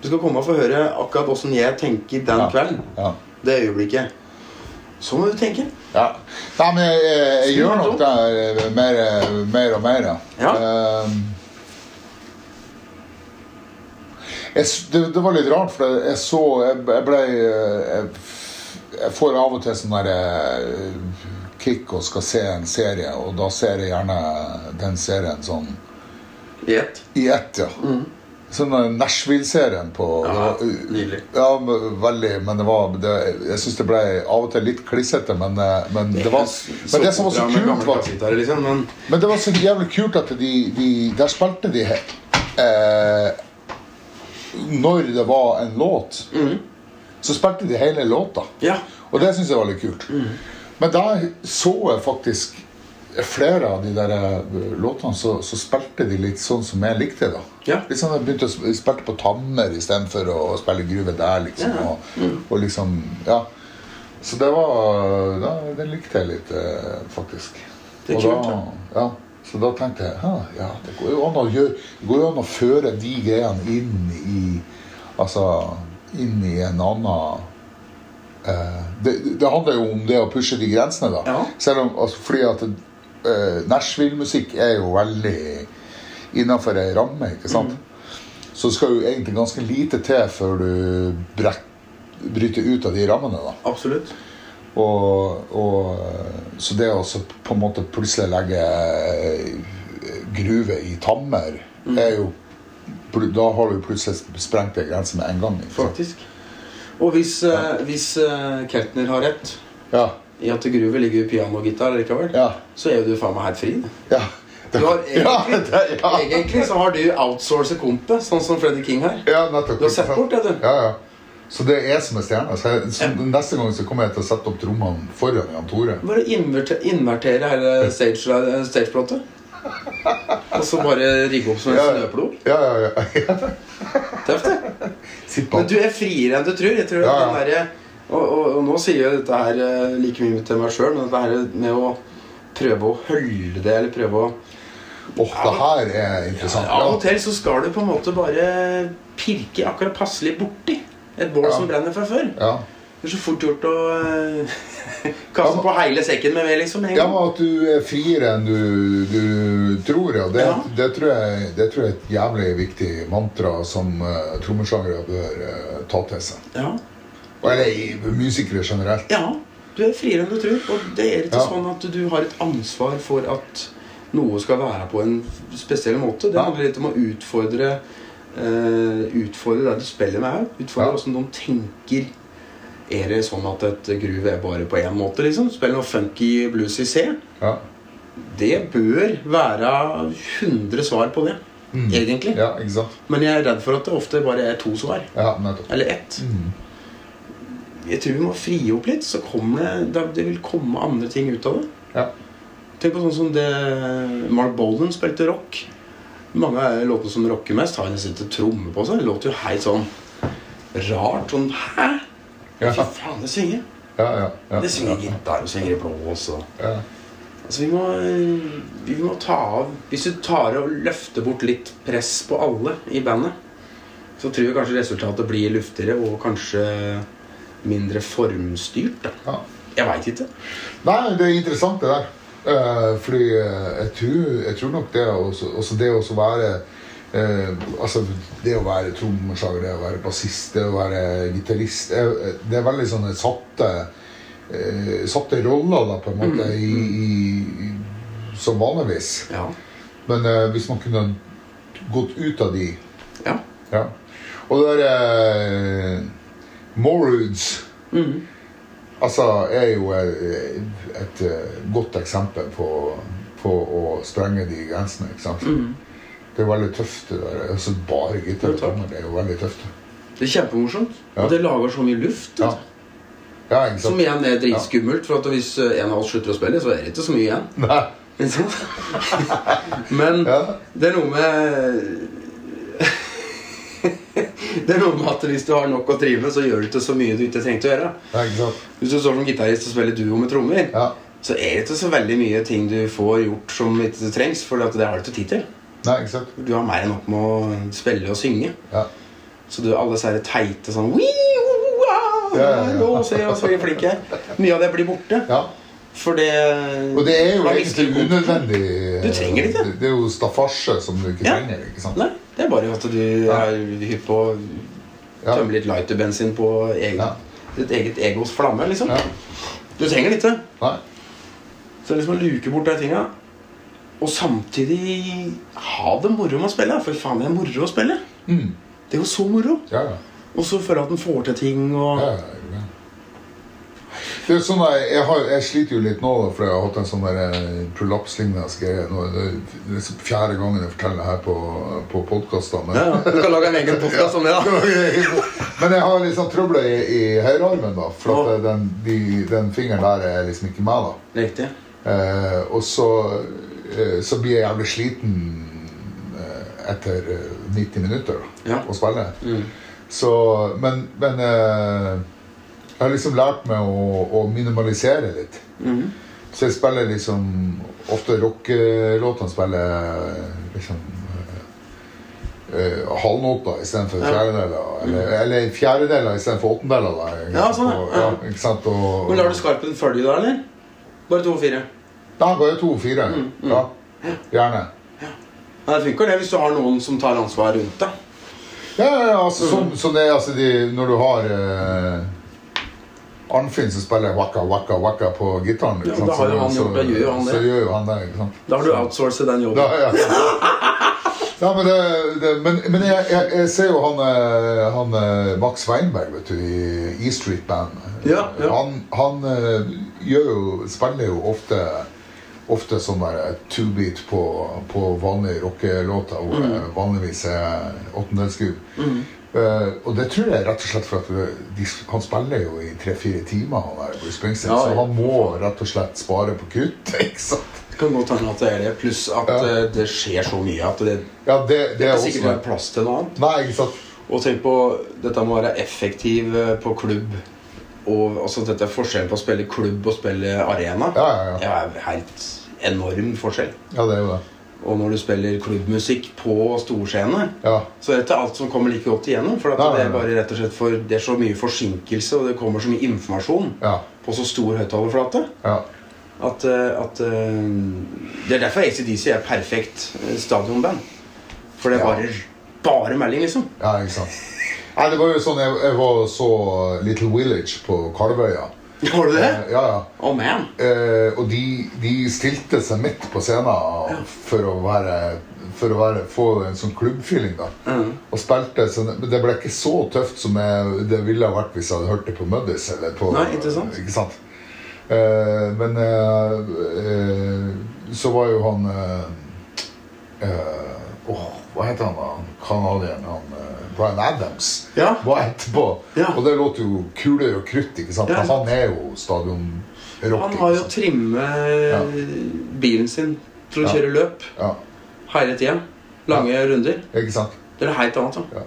Speaker 2: Du skal komme og få høre akkurat åssen jeg tenker den
Speaker 1: Ja.
Speaker 2: kvelden.
Speaker 1: ja.
Speaker 2: Det øyeblikket. Så må du tenke.
Speaker 1: Ja. Nei, men jeg, jeg, jeg gjør nok det eh, mer, eh, mer og mer, ja. Ehm, jeg, s- det, det var litt rart, for jeg, jeg så Jeg, jeg ble eh, jeg, f- jeg får av og til sånn der eh, kick og skal se en serie, og da ser jeg gjerne den serien sånn
Speaker 2: Gjett.
Speaker 1: i ett, ja. Sånn eh, Nashville-serien på
Speaker 2: Ja,
Speaker 1: det var-
Speaker 2: nydelig.
Speaker 1: Ja, men veldig, men det var det, Jeg syns det ble av og til litt klissete, men, eh, men det var Men det som var så
Speaker 2: Soppopera med gamle
Speaker 1: kult, var
Speaker 2: kassegitarer, liksom, men
Speaker 1: men det var så jævlig kult at de, de Der spilte de eh, Når det var en låt,
Speaker 2: Mm.
Speaker 1: så spilte de hele låta.
Speaker 2: Ja.
Speaker 1: Og det syns jeg var litt kult. Men da så jeg faktisk flere av de der eh, låtene, så, så spilte de litt sånn som jeg likte. da
Speaker 2: Ja.
Speaker 1: Litt sånn at jeg begynte å sp- spilte på tammer istedenfor å spille gruve der, liksom.
Speaker 2: Ja. Mm.
Speaker 1: Og, og liksom Ja. Så det var da, Det likte jeg litt, eh, faktisk.
Speaker 2: Det er
Speaker 1: Og
Speaker 2: kult,
Speaker 1: da, ja. Så da tenkte jeg «Hæ, ja, det går jo an å, gjøre, det går jo an å føre de greiene inn i Altså inn i en annen eh, det, det handler jo om det å pushe de grensene, da.
Speaker 2: Ja.
Speaker 1: Selv om altså, Fordi at eh, Nashville-musikk er jo veldig innafor ei ramme, ikke sant?
Speaker 2: Mm.
Speaker 1: Så det skal jo egentlig ganske lite til før du brek, bryter ut av de rammene, da.
Speaker 2: absolutt.
Speaker 1: Og, og eh, Så det å så på en måte plutselig legge eh, gruve i tammer,
Speaker 2: Mm.
Speaker 1: er jo pl- Da har du plutselig sprengt ei grense med en gang. ikke sant?
Speaker 2: Faktisk. Og hvis, eh, hvis eh, Keltner har rett
Speaker 1: Ja.
Speaker 2: i at Gruve ligger i piano og gitar likevel,
Speaker 1: Ja.
Speaker 2: så er jo du faen meg helt fri.
Speaker 1: Ja.
Speaker 2: Du har
Speaker 1: ja,
Speaker 2: egentlig,
Speaker 1: det- ja.
Speaker 2: egentlig så har du outsourcet kompet, sånn som Freddy King her.
Speaker 1: ja nettopp.
Speaker 2: Du har sett bort det, du.
Speaker 1: Ja, ja. Så det er jeg som er stjerna. Så, jeg- så neste gang så kommer jeg til å sette opp trommene foran Jan Tore.
Speaker 2: Bare inverte- invertere hele stage- stageplata. Og så bare rigge opp som en
Speaker 1: Ja.
Speaker 2: snøplog.
Speaker 1: Ja, ja, ja.
Speaker 2: Tøft, det.
Speaker 1: Sitt på.
Speaker 2: Men du er friere enn du tror. Jeg tror
Speaker 1: Ja,
Speaker 2: at
Speaker 1: ja.
Speaker 2: den der Og, og, og nå sier jeg dette her eh, like mye til meg sjøl, men dette her med å prøve å holde det, eller prøve å
Speaker 1: Åh, det her er interessant.
Speaker 2: Av og
Speaker 1: Ja.
Speaker 2: til så skal du på en måte bare pirke akkurat passelig borti et bål
Speaker 1: Ja.
Speaker 2: som brenner fra før.
Speaker 1: Ja.
Speaker 2: Det er så fort gjort å eh, kaste på hele sekken med ved, liksom. en
Speaker 1: ja,
Speaker 2: gang.
Speaker 1: men at du er friere enn du, du tror, ja. Det,
Speaker 2: Ja.
Speaker 1: det, tror jeg, det tror jeg er et jævlig viktig mantra som uh, trommeslagere bør eh, ta til seg.
Speaker 2: Ja.
Speaker 1: Og Eller i- musikere generelt.
Speaker 2: ja. Du er friere enn du tror. Og det er ikke
Speaker 1: Ja.
Speaker 2: sånn at du har et ansvar for at noe skal være på en spesiell måte. Det
Speaker 1: Ja.
Speaker 2: handler litt om å utfordre eh, Utfordre det du spiller med òg. Utfordre
Speaker 1: Ja.
Speaker 2: åssen de tenker. Er det sånn at et groove er bare på én måte, liksom? Spill noe funky blues i C.
Speaker 1: Ja.
Speaker 2: Det bør være 100 svar på det, egentlig.
Speaker 1: Mm. ja, ikke sant?
Speaker 2: Men jeg er redd for at det ofte bare er to svar.
Speaker 1: Ja, nettopp.
Speaker 2: Eller ett.
Speaker 1: Mm.
Speaker 2: Jeg tror vi må frie opp litt, så kommer det, da- det vil komme andre ting ut av det.
Speaker 1: Ja.
Speaker 2: Tenk på sånn som det Mark Bolden spilte rock. Mange av låtene som rocker mest, har nesten ikke tromme på seg. Det låter jo helt sånn rart. Sånn Hæ?
Speaker 1: Ja,
Speaker 2: Fy faen, det synger.
Speaker 1: ja, ja, ja.
Speaker 2: Det synger gitar, og synger i blås og
Speaker 1: Ja.
Speaker 2: Altså, vi må, vi må ta av Hvis du tar og løfter bort litt press på alle i bandet, så tror jeg kanskje resultatet blir luftigere og kanskje mindre formstyrt. Da.
Speaker 1: ja.
Speaker 2: Jeg veit ikke.
Speaker 1: Nei, det er interessant det der. Eh, fordi eh, jeg tror, jeg tror nok det også, også det å være eh, Altså, det å være trommeslager, det å være bassist, det å være gitarist eh, Det er veldig sånne satte eh, Satte roller, da, på en måte, i, i, som vanligvis.
Speaker 2: Ja.
Speaker 1: Men eh, hvis man kunne gått ut av de
Speaker 2: ja.
Speaker 1: ja. Og det der eh, Moroods
Speaker 2: Mhm.
Speaker 1: Altså, er jo et, et eh, godt eksempel på, på å sprenge de grensene, ikke sant?
Speaker 2: mm.
Speaker 1: Det er jo veldig tøft, det der. Altså, bare gitar og
Speaker 2: Jo, takk.
Speaker 1: trommer, det er jo veldig tøft.
Speaker 2: Det er kjempemorsomt.
Speaker 1: Ja.
Speaker 2: Og det lager så mye luft.
Speaker 1: Ja,
Speaker 2: vet du.
Speaker 1: ja ikke
Speaker 2: Som
Speaker 1: sant?
Speaker 2: igjen er dritskummelt, for at hvis eh, en av oss slutter å spille, så er det ikke så mye igjen.
Speaker 1: Nei.
Speaker 2: Ikke sant? Men
Speaker 1: Ja.
Speaker 2: det er noe med Det er noe med at hvis du har nok å drive med, så gjør du ikke så mye du ikke trengte å gjøre.
Speaker 1: ja, ikke sant?
Speaker 2: Hvis du står som gitarist og spiller duo med trommer,
Speaker 1: Ja.
Speaker 2: så er det ikke så veldig mye ting du får gjort som ikke trengs, for det har du ikke tid til.
Speaker 1: Nei, ikke sant?
Speaker 2: Du har mer enn nok med å spille og synge.
Speaker 1: Ja.
Speaker 2: Så du alle disse her teite sånn «Wii, oh, ah,
Speaker 1: Ja, ja, ja.
Speaker 2: Nå ser jeg så jeg er flink jeg er. Mye av det blir borte.
Speaker 1: ja.
Speaker 2: For det
Speaker 1: Og det er jo
Speaker 2: Da mister
Speaker 1: egentlig
Speaker 2: du kontroll.
Speaker 1: unødvendig.
Speaker 2: Du trenger det ikke.
Speaker 1: Det, det er jo staffasje som du ikke
Speaker 2: Ja.
Speaker 1: trenger, ikke sant?
Speaker 2: Nei, det er bare at du
Speaker 1: Ja.
Speaker 2: er hypp på å
Speaker 1: Ja.
Speaker 2: tømme litt lighterbensin på egen,
Speaker 1: Ja.
Speaker 2: ditt eget egos flamme, liksom.
Speaker 1: Ja.
Speaker 2: Du trenger det ikke.
Speaker 1: Nei.
Speaker 2: Så liksom å luke bort de tinga, og samtidig ha det moro med å spille. For faen, det er moro å spille.
Speaker 1: Mm.
Speaker 2: Det er jo så moro.
Speaker 1: Ja, ja.
Speaker 2: Og så føle at en får til ting og
Speaker 1: Ja, ja, ja. Det er sånn jeg, jeg, har, jeg sliter jo litt nå, da, for jeg har hatt en sånn der, eh, prolaps-lignende greie. Nå, det er liksom fjerde gangen jeg forteller det her på, på podkaster. Men,
Speaker 2: Ja, ja. Du kan lage en egen podkast om det, da.
Speaker 1: men jeg har litt sånn trøbler i, i høyrearmen, da. For at eh, den, de, den fingeren der er liksom ikke meg, da.
Speaker 2: Riktig.
Speaker 1: Eh, og så, eh, så blir jeg jævlig sliten eh, etter eh, 90 minutter da,
Speaker 2: Ja.
Speaker 1: å spille. Så, men men eh, jeg har liksom lært meg å, å minimalisere litt.
Speaker 2: Mhm.
Speaker 1: Så jeg spiller liksom ofte rockelåtene spiller jeg liksom eh, eh, halvnoter istedenfor
Speaker 2: Ja.
Speaker 1: fjerdedeler. Eller, eller fjerdedeler istedenfor åttendeler. Da,
Speaker 2: Ja, sånn, ja.
Speaker 1: Og- ja, ikke sant? Og,
Speaker 2: Men lar du skarpen følge da, eller? Bare to og fire.
Speaker 1: Da går jeg to og fire.
Speaker 2: Mm,
Speaker 1: Ja. Gjerne.
Speaker 2: Nei, det funker det hvis du har noen som tar ansvar rundt deg.
Speaker 1: Ja, ja, ja, altså, sånn, sånn det er altså de, Når du har eh, Arnfinn som spiller waka, waka, waka på gitaren
Speaker 2: Ja, da har jo han gjort det, gjør jo han det.
Speaker 1: Så gjør jo han det, ikke sant?
Speaker 2: Da har du outsourcet den jobben.
Speaker 1: Da, ja. Ja, men det, det, men, men jeg, jeg, jeg ser jo han, eh, han eh, Max Weinberg vet du, i E Street Band.
Speaker 2: Ja, ja.
Speaker 1: Han, han eh, gjør jo, spiller jo ofte Ofte sånn der two-beat på, på vanlige rockelåter, hvor
Speaker 2: Mm.
Speaker 1: eh, vanligvis er åttendelsgroove. Eh, og det tror jeg rett og slett for at det- de, han spiller jo i tre-fire timer, han der Bruce Springsteen,
Speaker 2: Ja,
Speaker 1: så
Speaker 2: ja.
Speaker 1: han må rett og slett spare på kutt. ikke sant?
Speaker 2: Det kan godt hende at det er det. Pluss at
Speaker 1: Ja.
Speaker 2: eh, det skjer så mye at det,
Speaker 1: Ja, det, det,
Speaker 2: det
Speaker 1: er
Speaker 2: er
Speaker 1: også
Speaker 2: sikkert er plass til noe annet.
Speaker 1: Nei, ikke sant?
Speaker 2: Og tenk på dette med å være effektiv eh, på klubb Og altså, dette er forskjellen på å spille klubb og spille arena.
Speaker 1: Ja, ja, ja.
Speaker 2: Det er helt enorm forskjell.
Speaker 1: Ja, det er jo det.
Speaker 2: Og når du spiller klubbmusikk på storscene,
Speaker 1: Ja.
Speaker 2: så er det ikke alt som kommer like godt igjennom. For at
Speaker 1: Nei, nei,
Speaker 2: det er
Speaker 1: nei.
Speaker 2: bare rett og slett for Det er så mye forsinkelse, og det kommer så mye informasjon
Speaker 1: Ja.
Speaker 2: på så stor høyttalerflate
Speaker 1: Ja.
Speaker 2: at, eh, at eh, Det er derfor ACDC er perfekt eh, stadionband. For det er
Speaker 1: Ja.
Speaker 2: bare, bare melding, liksom.
Speaker 1: ja, ikke sant. Nei, det var jo sånn Jeg, jeg var så Little Village på Kalvøya.
Speaker 2: Har du det?
Speaker 1: Eh, Ja, ja.
Speaker 2: Oh man!
Speaker 1: Eh, og de, de stilte seg midt på scenen for å være for å være, få en sånn klubbfeeling. da Og spilte så det- men Det ble ikke så tøft som jeg, det ville ha vært hvis jeg hadde hørt det på Muddis. Eller på,
Speaker 2: Nei, ikke sant.
Speaker 1: Ikke sant? Eh, men eh, eh, så var jo han eh, eh, åh, Hva heter han da? Han Canadieren? Han, eh, Bryan Adams
Speaker 2: Ja.
Speaker 1: var etterpå.
Speaker 2: Ja.
Speaker 1: Og det låter jo kuler og krutt. ikke sant?
Speaker 2: Ja.
Speaker 1: Men han er jo stadionrock.
Speaker 2: Han har
Speaker 1: ikke
Speaker 2: jo
Speaker 1: sant?
Speaker 2: trimme eh,
Speaker 1: Ja.
Speaker 2: bilen sin til å
Speaker 1: Ja.
Speaker 2: kjøre løp
Speaker 1: Ja,
Speaker 2: hele tida. Lange runder.
Speaker 1: ikke sant?
Speaker 2: Det er helt annet, da.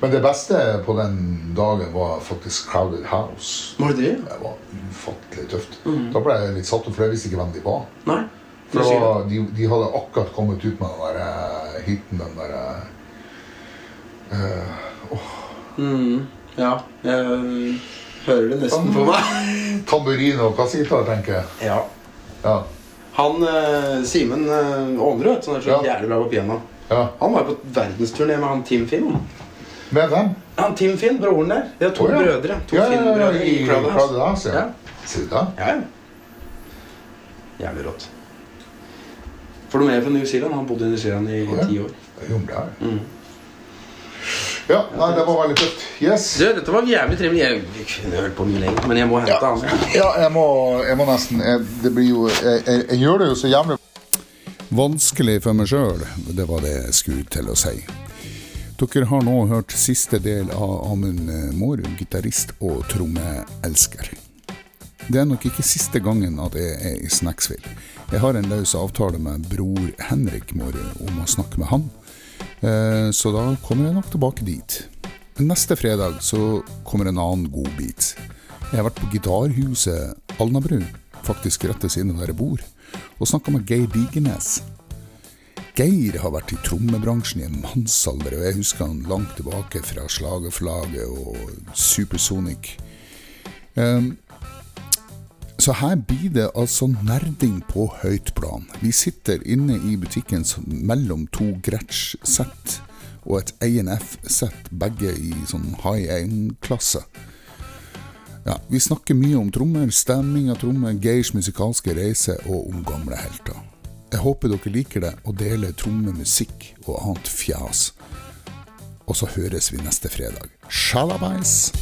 Speaker 1: Men det beste på den dagen var faktisk Crowded House.
Speaker 2: Var det det?
Speaker 1: Det var ufattelig tøft. Da ble jeg litt satt ut, for jeg visste ikke hvem de var.
Speaker 2: Nei?
Speaker 1: For
Speaker 2: Mm. Du
Speaker 1: det
Speaker 2: sier det.
Speaker 1: var, de, de hadde akkurat kommet ut med den der eh, hiten, den der eh,
Speaker 2: Mm, ja. Jeg hører det nesten på meg.
Speaker 1: Tamburin og kassegitar, tenker jeg.
Speaker 2: Ja.
Speaker 1: Ja.
Speaker 2: Han eh, Simen eh, Aanerud, vet du, som er så
Speaker 1: Ja.
Speaker 2: jævlig bra på piano
Speaker 1: ja.
Speaker 2: Han var jo på verdensturné med han Tim Finn. han.
Speaker 1: Med dem.
Speaker 2: Han Tim Finn, broren der. De er to
Speaker 1: Å, ja.
Speaker 2: brødre. To
Speaker 1: Ja, ja, ja,
Speaker 2: Finn-brødre
Speaker 1: i
Speaker 2: i Cloudhouse.
Speaker 1: Crowded House. Ja.
Speaker 2: Ja.
Speaker 1: Sier du det?
Speaker 2: Ja, ja. Jævlig rått. For de er fra New Zealand. Han bodde i New Zealand i
Speaker 1: Å, ja.
Speaker 2: ti år.
Speaker 1: Jo, men det er det.
Speaker 2: Mm.
Speaker 1: Ja, nei, det var veldig tøft. Yes.
Speaker 2: Du, dette var jævlig trivelig. Jeg vi kunne hørt på mye lenger, men jeg må hente
Speaker 1: Ja.
Speaker 2: han.
Speaker 1: Ja, jeg må, jeg må nesten jeg, Det blir jo jeg, jeg, jeg gjør det jo så jævlig Vanskelig for meg sjøl, det var det jeg skulle til å si. Dere har nå hørt siste del av Amund Mårud, gitarist og trommeelsker. Det er nok ikke siste gangen at jeg er i Snacksville. Jeg har en løs avtale med bror Henrik Mårud om å snakke med han, Eh, så da kommer jeg nok tilbake dit. Men Neste fredag så kommer en annen godbit. Jeg har vært på Gitarhuset Alnabru, faktisk rett ved siden av der jeg bor, og snakka med Geir Digernes. Geir har vært i trommebransjen i en mannsalder, og jeg husker han langt tilbake fra Slagerflaget og Supersonic. Ehm, så her blir det altså nerding på høyt plan. Vi sitter inne i butikken som- mellom to Gretsch-sett og et ANF-sett, begge i sånn high end-klasse. Ja, Vi snakker mye om trommer, stemming av trommer, Geirs musikalske reise og om gamle helter. Jeg håper dere liker det og deler trommemusikk og annet fjas. Og så høres vi neste fredag. Shalabais!